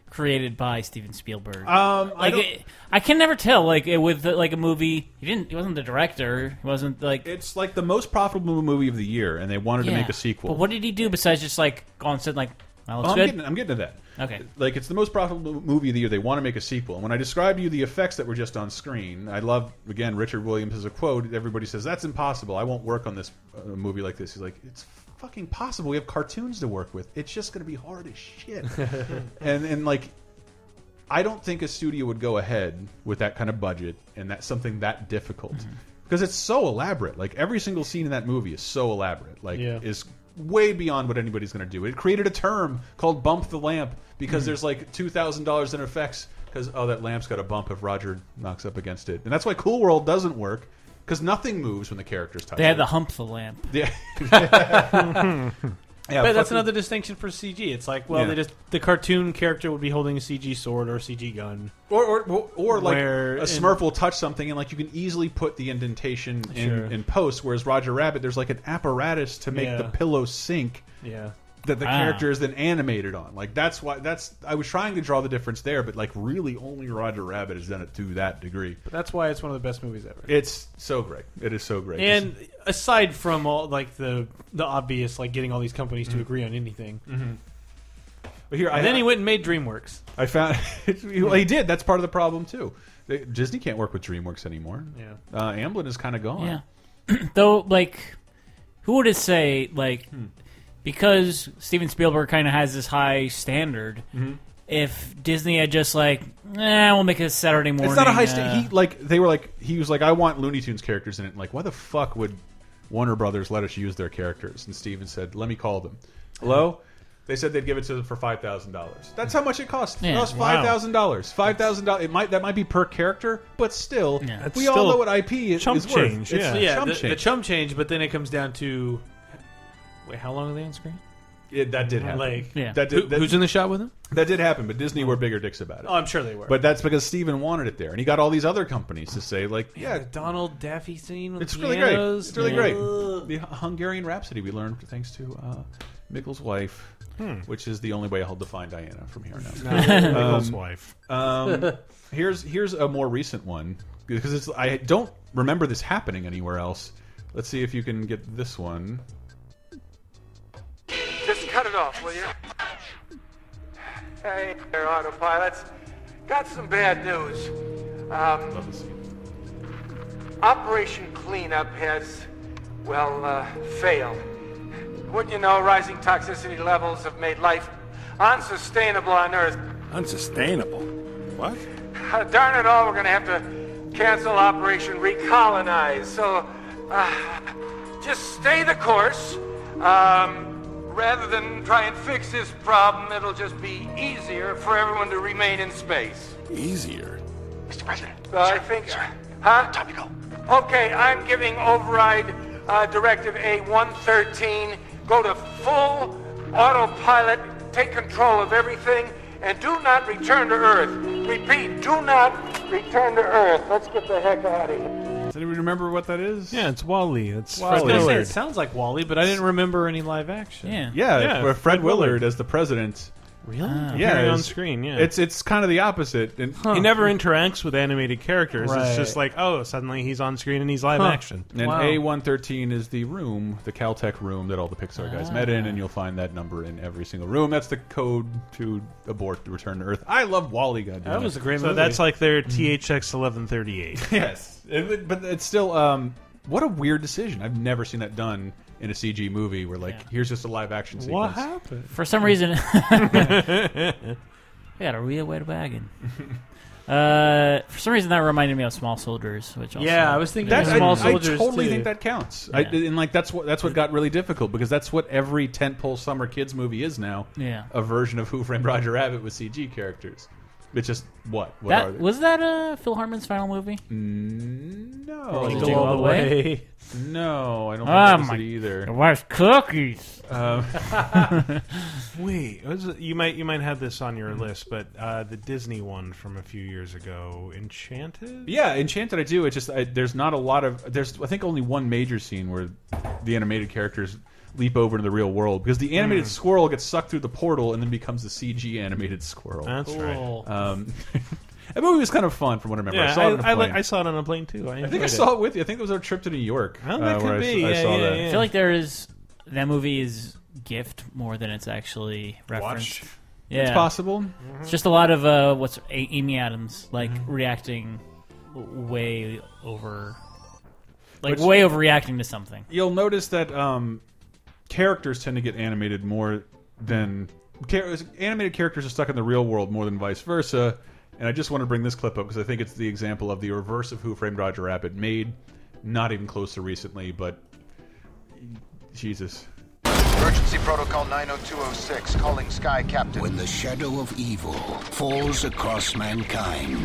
C: created by Steven Spielberg?
G: Um, I
C: like
G: don't-
C: it- I can never tell. Like it, with like a movie, he didn't. He wasn't the director. He wasn't like.
G: It's like the most profitable movie of the year, and they wanted to make a sequel.
C: But what did he do besides just like go on set and, like That looks
G: Well, I'm
C: good.
G: getting- I'm getting to that.
C: Okay.
G: Like it's the most profitable movie of the year. They want to make a sequel. And when I described to you the effects that were just on screen, I love again Richard Williams as a quote. Everybody says that's impossible. I won't work on this uh, movie like this. He's like, it's fucking possible. We have cartoons to work with. It's just going to be hard as
C: <laughs>
G: shit. and and like, I don't think a studio would go ahead with that kind of budget and that something that difficult
C: Mm-hmm.
G: because it's so elaborate. Like every single scene in that movie is so elaborate. Like
I: Yeah.
G: is way beyond what anybody's going to do. It created a term called bump the lamp because
I: Mhm.
G: there's like two thousand dollars in effects because oh that lamp's got a bump if Roger knocks up against it, and that's why Cool World doesn't work because nothing moves when the characters touch.
C: They
G: it.
C: had to hump the lamp.
I: <laughs>
G: Yeah.
I: but that's
G: fucking-
I: another distinction for CG. It's like, well,
G: Yeah.
I: they just the cartoon character would be holding a CG sword or a CG gun,
G: Or, or, or, or like
I: Where
G: a
I: in-
G: Smurf will touch something and like you can easily put the indentation in,
I: Sure.
G: in post. Whereas Roger Rabbit, there's like an apparatus to make
I: Yeah.
G: the pillow sink.
I: Yeah.
G: That the
I: Ah.
G: character is then animated on. Like that's why that's I was trying to draw the difference there, but like really only Roger Rabbit has done it to that degree.
I: But that's why it's one of the best movies ever.
G: It's so great. It is so great.
I: And aside from all like the the obvious, like getting all these companies to agree on anything,
G: Mhm. But here,
I: and
G: I-
I: then he went and made DreamWorks.
G: I found <laughs> well, he did. That's part of the problem too. They- Disney can't work with DreamWorks anymore.
I: Yeah.
G: uh, Amblin is kind of gone.
C: Yeah. <clears throat> Though, like, who would it say, like,
G: Hmm.
C: because Steven Spielberg kind of has this high standard,
G: Mhm.
C: if Disney had just, like, eh, we'll make it a Saturday morning.
G: It's not a high
C: uh,
G: sta- He like they were like he was like I want Looney Tunes characters in it. Like why the fuck would Warner Brothers let us use their characters? And Steven said, "Let me call them." Hello. They said they'd give it to them for five thousand dollars. That's how much it costs. It
I: Yeah.
G: costs
I: Wow.
G: five thousand dollars. Five thousand dollars. It might that might be per character, but still,
I: That's
G: we all
I: still
G: know what IP is, is worth. It's chump
I: the,
G: change.
I: the chum change. But then it comes down to wait, how long are they on screen?
G: Yeah, that did happen.
I: Like,
G: that
I: Who-
G: did, that-
I: who's in the shot with him?
G: That did happen, but Disney were bigger dicks about it.
I: Oh, I'm sure they were.
G: But that's because Steven wanted it there, and he got all these other companies to say like, yeah,
I: the Donald Daffy scene. With
G: It's
I: the
G: really great.
I: pianos.
G: It's really
I: Yeah.
G: great. The Hu- Hungarian Rhapsody we learned thanks to uh, Mikkel's wife,
I: Hmm.
G: which is the only way I'll define Diana from here on out.
H: No, Mikkel's wife.
G: um, here's here's a more recent one because it's I don't remember this happening anywhere else. Let's see if you can get this one.
R: Just cut it off, will you? Hey there, autopilots. Got some bad news. Um, Operation Cleanup has, well, uh, failed. Wouldn't you know, rising toxicity levels have made life unsustainable on Earth.
S: Unsustainable. What?
R: Uh, darn it all, we're going to have to cancel Operation Recolonize. So, uh, just stay the course. Um, rather than try and fix this problem, it'll just be easier for everyone to remain in space.
S: Easier.
R: Mr. President. I think. Huh? Time to go. Okay, I'm giving override uh, directive A113. Go to full autopilot. Take control of everything, and do not return to Earth. Repeat, do not return to Earth. Let's get the heck out of here.
G: Does anybody remember what that is?
H: Yeah, it's Wally. It's
I: I was
H: Fred
I: gonna say,
H: Willard.
I: it sounds like Wally, but I didn't remember any live action.
G: Yeah, where Fred Willard, as the president.
I: Really?
G: yeah,
H: Appearing on
G: it's-
H: screen, yeah.
G: It's it's kind of the opposite. And
H: He never interacts with animated characters.
G: Right.
H: It's just like, oh, suddenly he's on screen and he's live
G: Huh.
H: action.
G: And A113 is the room, the Caltech room that all the Pixar guys met in,
C: Ah.
G: and you'll find that number in every single room. That's the code to abort the return to Earth. I love Wally, goddamn. it.
H: so that's like their THX 1138.
G: yes, It would- but it's still um, what a weird decision. I've never seen that done in a CG movie where like here's just a live action sequence.
H: What happened?
C: For some
G: <laughs>
C: reason, I got a real wet wagon. <laughs> Uh, for some reason, that reminded me of Small Soldiers, which also,
G: That's- I,
C: Small
G: I
C: Soldiers.
G: totally
I: too.
G: think that counts. I, and like that's what that's what got really difficult because that's what every tentpole summer kids movie is now.
C: Yeah.
G: a version of Who Framed Roger Rabbit with CG characters. It's just what? What are
C: that
G: they?
C: was that uh, Phil Hartman's final movie.
G: No,
C: Or was it
G: Go
C: Jingle
G: All
C: All
G: the
C: the
G: Way?
C: Way.
G: Oh, No, I don't think
C: Ah,
G: that was
C: my-
G: it either.
C: Where's cookies?
H: <laughs> Wait, was it- you might you might have this on your list, but uh, the Disney one from a few years ago, Enchanted.
G: Yeah, Enchanted I do. It's just I, there's not a lot of there's I think only one major scene where the animated characters leap over into the real world because the animated
H: Hmm.
G: squirrel gets sucked through the portal and then becomes the CG animated squirrel.
H: That's right.
C: Oh.
H: Cool.
G: Um, <laughs> that movie was kind of fun from what I remember. I
H: Yeah,
G: saw it. on a
H: I,
G: plane.
H: li- I saw it on a plane too. I,
G: I think I
H: enjoyed
G: saw it with you. I think it was our trip to New York.
H: Oh, that
G: Uh, where
H: could
G: I s-
H: be.
G: I
H: Yeah,
G: saw
H: yeah,
G: that.
H: yeah.
C: I feel like there is. that movie is gift more than it's actually referenced.
G: Watch.
C: Yeah,
G: It's possible.
C: It's just a lot of uh, what's a- Amy Adams like
G: Mm-hmm.
C: reacting way over, like
G: Which-
C: way overreacting to something.
G: You'll notice that um, characters tend to get animated more than char animated characters are stuck in the real world more than vice versa. And I just want to bring this clip up because I think it's the example of the reverse of Who Framed Roger Rabbit made, not even close to recently, but Jesus.
T: Emergency protocol 90206 calling Sky Captain.
U: When the shadow of evil falls across mankind,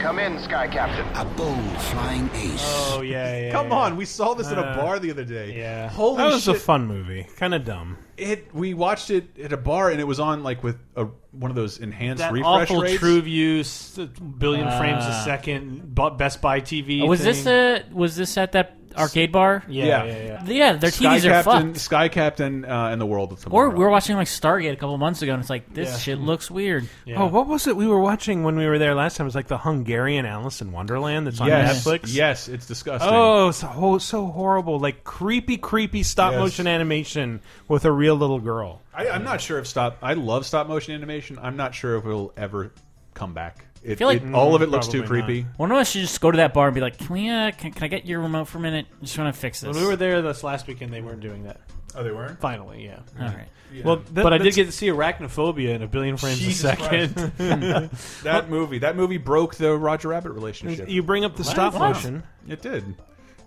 T: Come in, Sky Captain.
U: a bold flying ace.
H: Oh yeah, yeah.
G: Come
H: yeah.
G: on, we saw this in a
H: Uh,
G: bar the other day.
H: Yeah,
G: Holy
H: that was a
G: shit.
H: fun movie. Kind of dumb.
G: It we watched it at a bar and it was on like with a, one of those enhanced
I: that
G: refresh
I: awful
G: rates. Uh.
I: TrueView, s- billion frames
C: Ah.
I: a second, bu- Best Buy TV.
G: Oh,
C: was this
I: thing.
C: a was this at that arcade bar?
I: Yeah, yeah, yeah.
C: their
G: Sky
C: TVs are
G: Captain,
C: fucked.
G: Sky Captain uh, and the world of tomorrow.
C: Or we were watching like Stargate a couple months ago, and it's like this
H: Yeah.
C: shit looks weird.
H: Oh, what was it we were watching when we were there last time? It was like the Hungarian Alice in Wonderland that's on
G: Yes.
H: Netflix.
G: Yes, it's disgusting.
H: Oh, so so horrible! Like creepy, creepy stop
G: Yes.
H: motion animation with a real little girl.
G: I, I'm not sure if stop. I love stop motion animation. I'm not sure if it'll ever come back. It,
C: I feel like
G: it- all of it looks too creepy.
C: One of us should just go to that bar and be like, "Can we? Uh, can, can I get your remote for a minute? I just want to fix this."
I: When we were there this last weekend, they weren't doing that.
G: Oh, they weren't.
I: Finally, yeah.
C: All right. Yeah.
I: Well,
C: That-
I: but I did
C: that's-
I: get to see Arachnophobia in a billion frames a second. <laughs>
H: <laughs>
G: that movie. That movie broke the Roger Rabbit relationship.
H: You bring up the What? stop What? motion.
G: It did.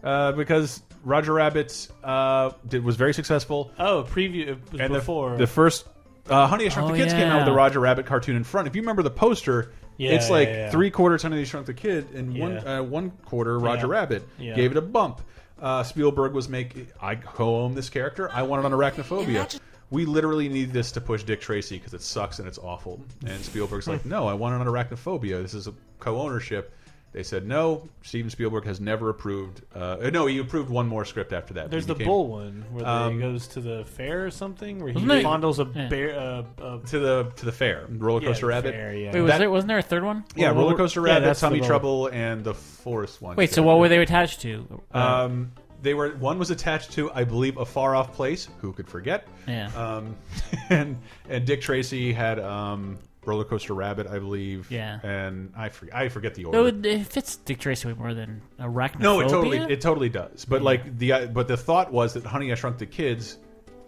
G: Uh, because Roger Rabbit uh, did, was very successful.
I: Oh, preview it was
G: And the-
I: before
G: the first uh, Honey I Shrunk
I: Oh,
G: the Kids came out with the
I: yeah.
G: Roger Rabbit cartoon in front. If you remember the poster,
I: Yeah,
G: it's
I: yeah,
G: like
I: yeah.
G: three quarters Honey I Shrunk the Kid and one
I: Yeah.
G: uh, one quarter Roger
I: Yeah.
G: Rabbit
I: Yeah.
G: gave it a bump. Uh, Spielberg was making I co-own this character. I want it on Arachnophobia. We literally need this to push Dick Tracy because it sucks and it's awful. And Spielberg's like, no, I want it on Arachnophobia. This is a co-ownership. They said no. Steven Spielberg has never approved. Uh, no, he approved one more script after that.
I: There's
G: He
I: the
G: became-
I: bull one where
G: Um,
I: he goes to the fair or something, where he
C: Wasn't it-
I: fondles a
C: Yeah.
I: bear. Uh, uh,
G: to the to the fair, roller
I: Yeah,
G: coaster
I: the
G: rabbit.
I: fair, yeah.
C: Wait, was there wasn't there a third one?
G: Yeah,
C: Well,
G: roller
C: well,
G: coaster
C: yeah,
G: rabbit,
C: that's the
G: tummy
C: roller-
G: trouble, and the forest one.
C: Wait, so what were they attached to? Uh,
G: Um, they were one was attached to, I believe, a far off place. Who could forget?
C: Yeah.
G: Um, <laughs> and and Dick Tracy had um, roller coaster rabbit, I believe.
C: Yeah.
G: And I forget, I forget the order.
C: No, it, it fits Dick Tracy way more than Arachnophobia.
G: No, it totally it totally does. But like the uh, but the thought was that Honey I Shrunk the Kids.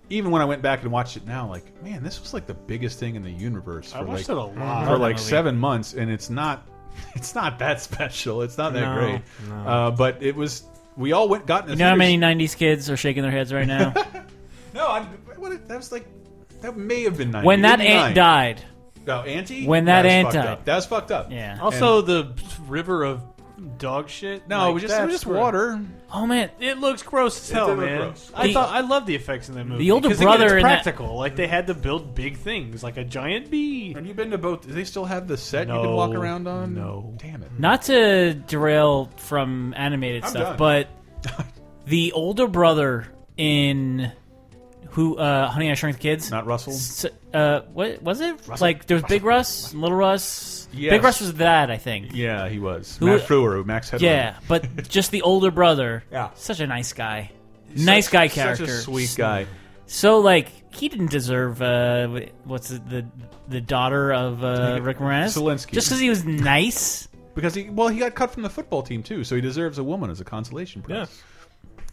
G: Even when I went back and watched it now, like man, this was like the biggest thing in the universe. For
I: I watched
G: like,
I: it a
H: Mm-hmm.
I: lot.
G: for
I: Love that
G: like
I: movie.
G: seven months, and it's not <laughs> it's not that special. It's not that
C: No,
G: great.
C: no.
G: Uh, but it was. We all went got in.
C: You
G: the
C: know how
G: theaters-
C: many '90s kids are shaking their heads right
G: <laughs>
C: now?
G: No, I, what, that was like that may have been 90,
C: when that
G: 89.
C: ant died.
G: No, Auntie.
C: When that
G: was
C: ant
G: fucked
C: died.
G: up. That was fucked up. Yeah.
I: Also, the river of dog shit.
G: No, it was just- it was
I: that's
G: just
I: where-
G: water.
C: Oh man,
I: it looks gross as
G: It
I: hell,
G: did look
I: man.
G: gross.
I: I
G: The-
I: thought I love the effects in that movie.
C: older
I: 'Cause again, it's
C: brother in that-
I: practical. Like they had to build big things, like a giant bee.
G: Have you been to both? Do they still have the set
I: No,
G: you can walk around on?
I: No,
G: damn it.
C: Not to derail from animated
G: I'm done. <laughs>
C: stuff, but the older brother in who uh, Honey I Shrunk the Kids,
G: not Russell.
C: uh, what was it? Like there was Big Russ, Little Russ. Big Russ was that I think.
G: Yeah, he was.
C: Who-
G: Matt Frewer, Max Headroom.
C: Yeah, but just the
G: <laughs>
C: older brother. Yeah, such a nice guy.
G: He's
C: nice
G: such-
C: guy
G: such a
C: character.
G: sweet guy.
C: So like he didn't deserve uh, what's it, the the daughter of uh, Rick Moranis
G: Zelensky.
C: just because he was nice.
G: Because he well, he got cut from the football team too, so he deserves a woman as a consolation prize.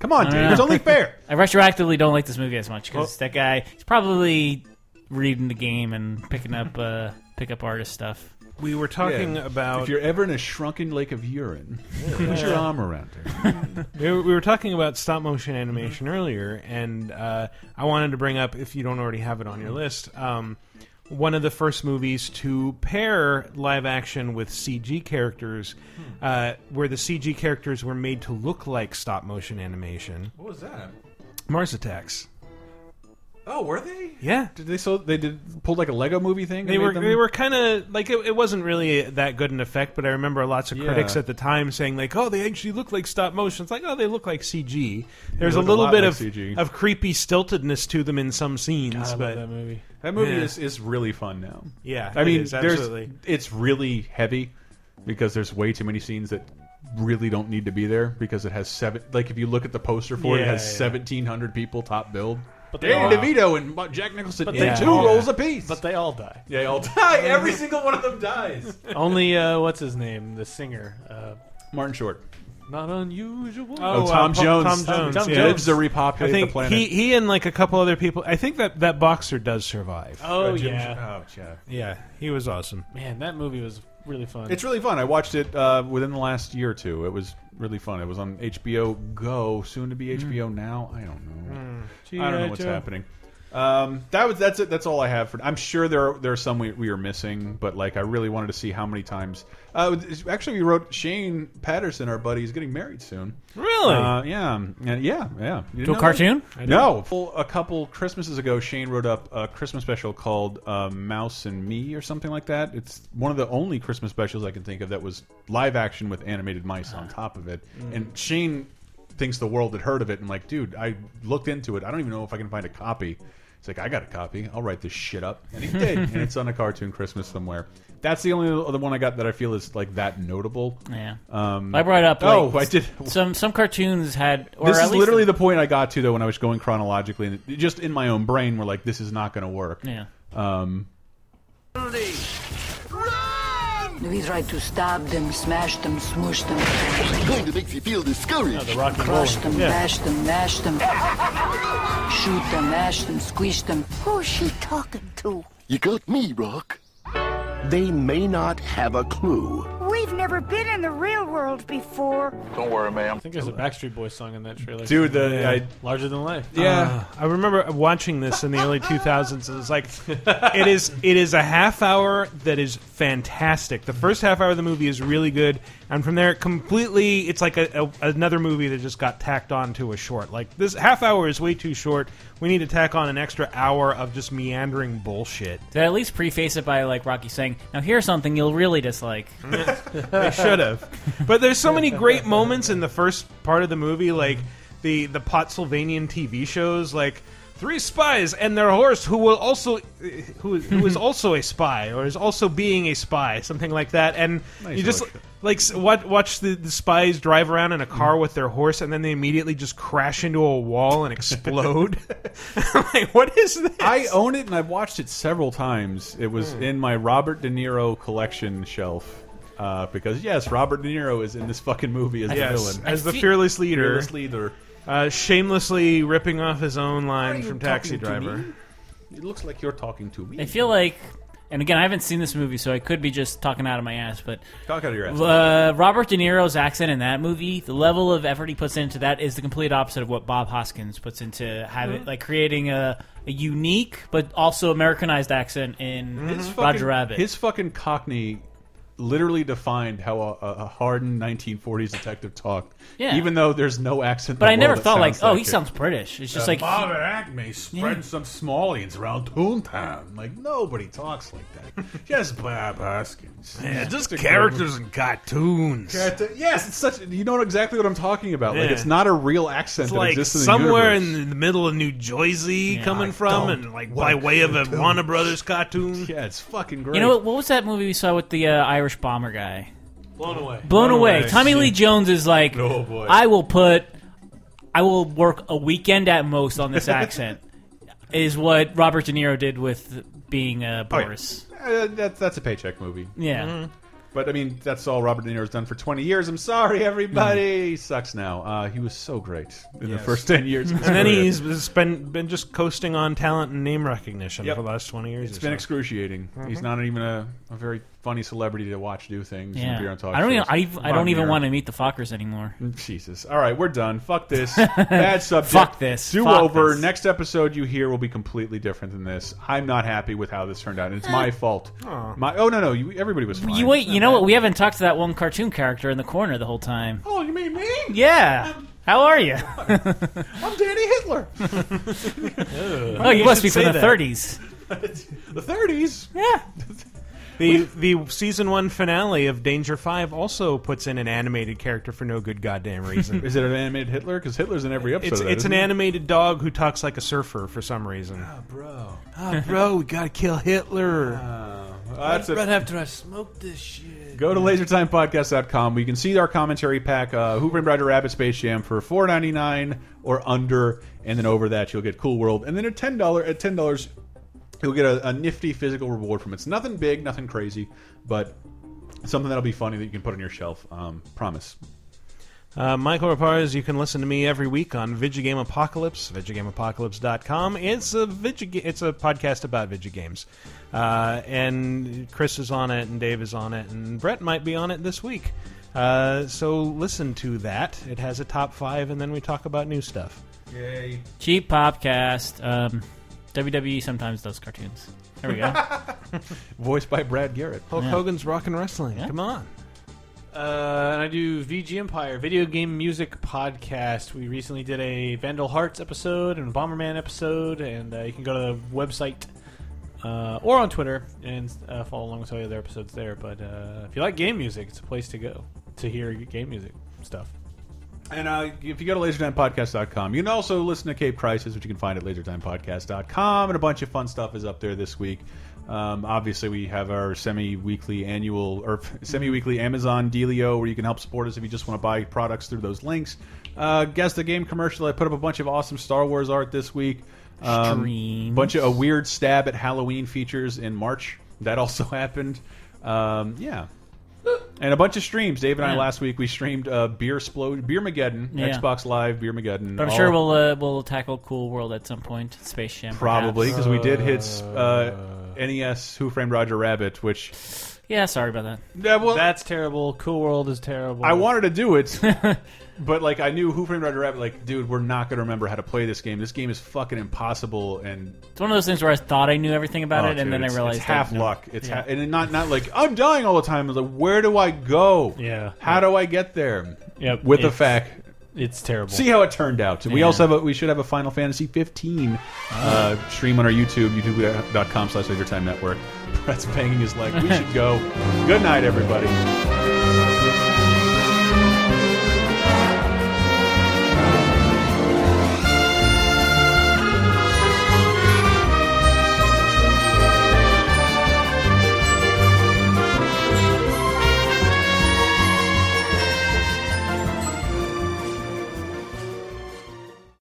G: Come
C: I
G: on,
C: don't
G: dude.
C: know.
G: It's <laughs> only fair.
C: I retroactively don't like this movie as much because
G: Oh.
C: that guy he's probably reading the game and picking up uh, pickup artist stuff.
H: We were talking
G: Yeah.
H: about
G: If you're ever in a shrunken lake of urine, put your arm around her.
H: we, were, we were talking about stop motion animation earlier, and uh, I wanted to bring up if you don't already have it on your list, um, one of the first movies to pair live action with CG characters, uh, where the CG characters were made to look like stop motion animation.
G: What was that?
H: Mars Attacks.
G: Oh, were they?
H: Yeah.
G: Did they so they did pulled like a Lego movie thing? and
H: They
G: made
H: were
G: them?
H: they were kind of like it, it wasn't really that good an effect, but I remember lots of
G: Yeah.
H: critics at the time saying like, "Oh, they actually look like stop motion." It's like, "Oh, they look like CG." There's a
G: look a
H: little
G: lot
H: bit
G: like
H: of
G: CG.
H: of creepy stiltedness to them in some scenes,
G: I love
H: but
G: that movie. That movie
H: Yeah.
G: is, is really fun now.
H: Yeah,
G: I
H: it
G: mean,
H: is,
G: there's
H: absolutely.
G: it's really heavy because there's way too many scenes that really don't need to be there because it has seven. Like if you look at the poster for it, it
H: Yeah,
G: has
H: yeah.
G: seventeen hundred people top billed.
H: But they
G: Danny
H: all-
G: DeVito and Jack Nicholson
H: But
G: in
H: they
G: two
H: all-
G: roles apiece.
I: But they all die.
G: They all die. Every single one of them dies.
I: <laughs> Only uh, what's his name, the singer, uh,
G: Martin Short.
I: Not unusual.
G: Oh, Tom
H: Po-
G: Jones.
H: uh, Tom
G: Tom
H: Jones.
G: Jones
H: yeah.
G: lives to repopulate
H: I think
G: the planet.
H: He, he and like a couple other people. I think that that boxer does survive.
I: Oh,
G: Uh, Jim-
I: yeah.
G: oh, yeah.
H: Yeah, he was awesome.
I: Man, that movie was really fun.
G: It's really fun. I watched it uh, within the last year or two. It was really fun. It was on HBO Go, soon to
H: Hmm.
G: be HBO Now. I don't know.
H: Mm.
G: I don't know
H: G.I.
G: what's
H: Joe.
G: happening. Um, that was that's it. That's all I have for. I'm sure there are, there are some we, we are missing, but like I really wanted to see how many times. Uh, it's- actually, we wrote Shane Patterson, our buddy, is getting married soon.
H: Really?
G: Uh, yeah, yeah, yeah. yeah. You didn't
C: To a
G: know
C: cartoon?
G: that?
C: I didn't.
G: No, Full- a couple Christmases ago, Shane wrote up a Christmas special called uh, "Mouse and Me" or something like that. It's one of the only Christmas specials I can think of that was live action with animated mice
C: Uh-huh.
G: on top of it.
H: Mm.
G: And Shane thinks the world had heard of it and like, dude, I looked into it. I don't even know if I can find a copy. It's like I got a copy. I'll write this shit up, and he did. and it's on a cartoon Christmas somewhere. That's the only other one I got that I feel is like that notable.
C: Yeah.
G: Um,
C: I brought up.
G: Oh,
C: like,
G: I did
C: Some some cartoons had. Or
G: this
C: at
G: is
C: least
G: literally the point I got to though when I was going chronologically, and it- just in my own brain, we're like, this is not going to work.
C: Yeah.
G: Um,
D: Louise right to stab them, smash them, smoosh them. Going to make you feel discouraged.
I: the rock and
D: Crush
I: roll.
D: them,
I: Yeah.
D: mash them, mash them. Shoot them, mash them, squeeze them.
V: Who's she talking to?
U: You got me, Rock. They may not have a clue.
V: We've never been in the real world before.
I: Don't worry, ma'am. I think there's a Backstreet Boys song in that trailer.
H: Dude, the-
I: Yeah.
H: I-
I: larger than life.
H: Uh, I remember watching this in the early 2000s. and It's like it is it is a half hour that is fantastic. The first half hour of the movie is really good, and from there, it completely it's like a, a, another movie that just got tacked on to a short. Like this half hour is way too short. We need to tack on an extra hour of just meandering bullshit.
C: Did I at least preface it by like Rocky saying, "Now here's something you'll really dislike."
H: they should have. But there's so many great moments in the first part of the movie, like the the Potsylvanian TV shows, like three spies and their horse, who will also who is- who is also a spy or is also being a spy, something like that. And
G: Nice
H: you just
G: little
H: like s- what watch the, the spies drive around in a car with their horse, and then they immediately just crash into a wall and explode. <laughs> what is this?
G: I own it and I've watched it several times. It was
H: Hmm.
G: in my Robert De Niro collection shelf. Uh, because yes, Robert De Niro is in this fucking movie as
H: Yes,
G: the villain,
H: as the fearless leader.
G: Fearless leader.
H: Uh, shamelessly ripping off his own line from Taxi Driver.
G: It looks like you're talking to me.
C: I feel like, and again, I haven't seen this movie, so I could be just talking out of my ass. But
G: Talk out of your ass.
C: Uh, Robert De Niro's accent in that movie, the level of effort he puts into that is the complete opposite of what Bob Hoskins puts into having,
H: Mm-hmm.
G: Mhm.
C: like creating a, a unique but also Americanized accent in
H: Mm-hmm.
G: His
C: Roger
G: fucking-
C: Rabbit.
G: His fucking Cockney literally defined how a, a a hardened 1940s detective talked.
C: Yeah.
G: Even though there's no accent. in
C: but
G: the
C: I never
G: world that
C: thought like, oh, he
G: it.
C: sounds British. It's just
G: Uh,
C: like
G: Bob at Acme spread
C: Yeah.
G: some smallians around Toontown. Like nobody talks like that. <laughs> just Bob Hoskins.
H: Yeah, just
G: It's a
H: characters
G: good-
H: and cartoons.
G: Character- Yes, it's such. You know exactly what I'm talking about. Like
H: Yeah.
G: it's not a real accent
H: It's
G: that
H: like
G: exists in the
H: somewhere
G: universe.
H: in the middle of New Jersey coming
G: I
H: from,
G: don't
H: and like
G: want
H: by way of a
G: cartoons.
H: Warner Brothers cartoon.
G: Yeah, it's fucking
C: You know what? What was that movie we saw with the uh, Irish bomber guy?
I: Blown away.
C: Blown, away.
G: <laughs>
C: Tommy Lee Jones is like,
I: Oh, boy.
C: I will put, I will work a weekend at most
G: <laughs>
C: on this accent, is what Robert De Niro did with being uh,
G: Oh, yeah. Mm-hmm.
C: Boris.
G: Uh, that, that's a paycheck movie.
C: Yeah. Mhm.
G: But I mean, that's all Robert De Niro's done for 20 years. I'm
C: Mm.
G: sorry, everybody. Sucks now. Uh, he was so great in the
H: Yes.
G: first 10 years.
H: and then he's he's been been just coasting on talent and name recognition
G: Yep.
H: for the last twenty years.
G: It's
H: or
G: been
H: so.
G: excruciating. He's
C: Mm-hmm.
H: Mhm.
G: not even a, a very funny celebrity to watch do things. and appear
C: Yeah.
G: on talk
C: I don't. Even,
G: shows.
C: I, I
G: Robert
C: don't
G: De
C: even
G: Niro.
C: want to meet the Fockers anymore.
G: Jesus. All right, we're done. Fuck
C: <laughs>
G: this. Bad subject.
C: Fuck this.
G: Do
C: Fuck
G: over.
C: this.
G: Next episode you hear will be completely different than this. I'm not happy with how this turned out, and it's my fault. My oh no no, you, everybody was fine.
C: Eh. You wait. You know what? We haven't talked to that one cartoon character in the corner the whole time.
G: Oh, you mean me?
C: Yeah. How are
G: <laughs>
C: you?
G: I'm Danny Hitler.
C: <laughs>
G: <laughs>
C: oh, you must be from the 30s.
G: <laughs> the 30s?
C: Yeah.
H: The the season one finale of Danger Five also puts in an animated character for no good
G: <laughs>
H: goddamn reason.
G: Is it an animated Hitler? Because Hitler's in every episode.
H: It's,
G: of that,
H: it's an
G: isn't it?
H: animated dog who talks like a surfer for some reason.
G: Ah, bro.
H: Ah, bro, we gotta kill Hitler.
G: that's
I: right
G: a-
I: after I smoked this shit.
G: Go to lasertimepodcast.com. We can see our commentary pack, uh, Hoover and Roger Rabbit Space Jam for four ninety nine or under, and then over that you'll get Cool World, and then at ten dollar at ten dollars you'll get a, a nifty physical reward from it. It's nothing big, nothing crazy, but something that'll be funny that you can put on your shelf. Um, promise.
H: Uh, Michael Raparez, you can listen to me every week on Vigigame Apocalypse, VigigameApocalypse.com. It's a Vigiga- it's a podcast about video games. Uh, and Chris is on it, and Dave is on it, and Brett might be on it this week. Uh, so listen to that. It has a top five, and then we talk about new stuff.
G: Yay.
C: Cheap Popcast. Um, WWE sometimes does cartoons. There we
G: <laughs>
C: go.
G: Voiced by Brad Garrett.
H: Hulk
C: Yeah.
H: Hogan's Rock and Wrestling. Come on.
I: Uh, and I do VG Empire, video game music podcast. We recently did a Vandal Hearts episode and a Bomberman episode, and uh, you can go to the website uh, or on Twitter and uh, follow along with all the other episodes there. But uh, if you like game music, it's a place to go to hear game music stuff.
G: And uh, if you go to lasertimepodcast.com, you can also listen to Cape Crisis, which you can find at lasertimepodcast.com. And a bunch of fun stuff is up there this week. Um, obviously, we have our semi weekly annual or <laughs> semi weekly Amazon dealio where you can help support us if you just want to buy products through those links. Uh, guess the game commercial. I put up a bunch of awesome Star Wars art this week. Um, bunch of a weird stab at Halloween features in March. That also <laughs> happened. Um, yeah. And a bunch of streams. Dave and I
C: Yeah.
G: last week we streamed uh, Beer Splode, Beer Mageddon,
C: Yeah.
G: Xbox Live, Beer Mageddon.
C: But I'm sure we'll uh, we'll tackle Cool World at some point. Space Jam,
G: probably
C: perhaps.
G: because we did hit uh, NES Who Framed Roger Rabbit, which
C: Yeah, sorry about that.
I: That's terrible. Cool World is terrible.
G: I wanted to do
C: <laughs>
G: it, but like I knew Who Framed Roger Rabbit. Like, dude, we're not gonna remember how to play this game. This game is fucking impossible. And
C: It's one of those things where I thought I knew everything about
G: Oh,
C: it, and
G: dude,
C: then I
G: it's-
C: realized
G: it's half
C: that, no.
G: luck. It's
C: Yeah.
G: ha and not not like I'm dying all the time. It's like where do I go?
I: Yeah.
G: How do I get there?
I: Yep.
G: With the
I: It's-
G: fact.
I: It's terrible.
G: See how it turned out. We
I: Yeah.
G: also have a, we should have a Final Fantasy 15
I: Oh.
G: uh, stream on our YouTube, <laughs> youtube.com slash lasertime network. Brett's banging his leg. We should go. Good night, everybody.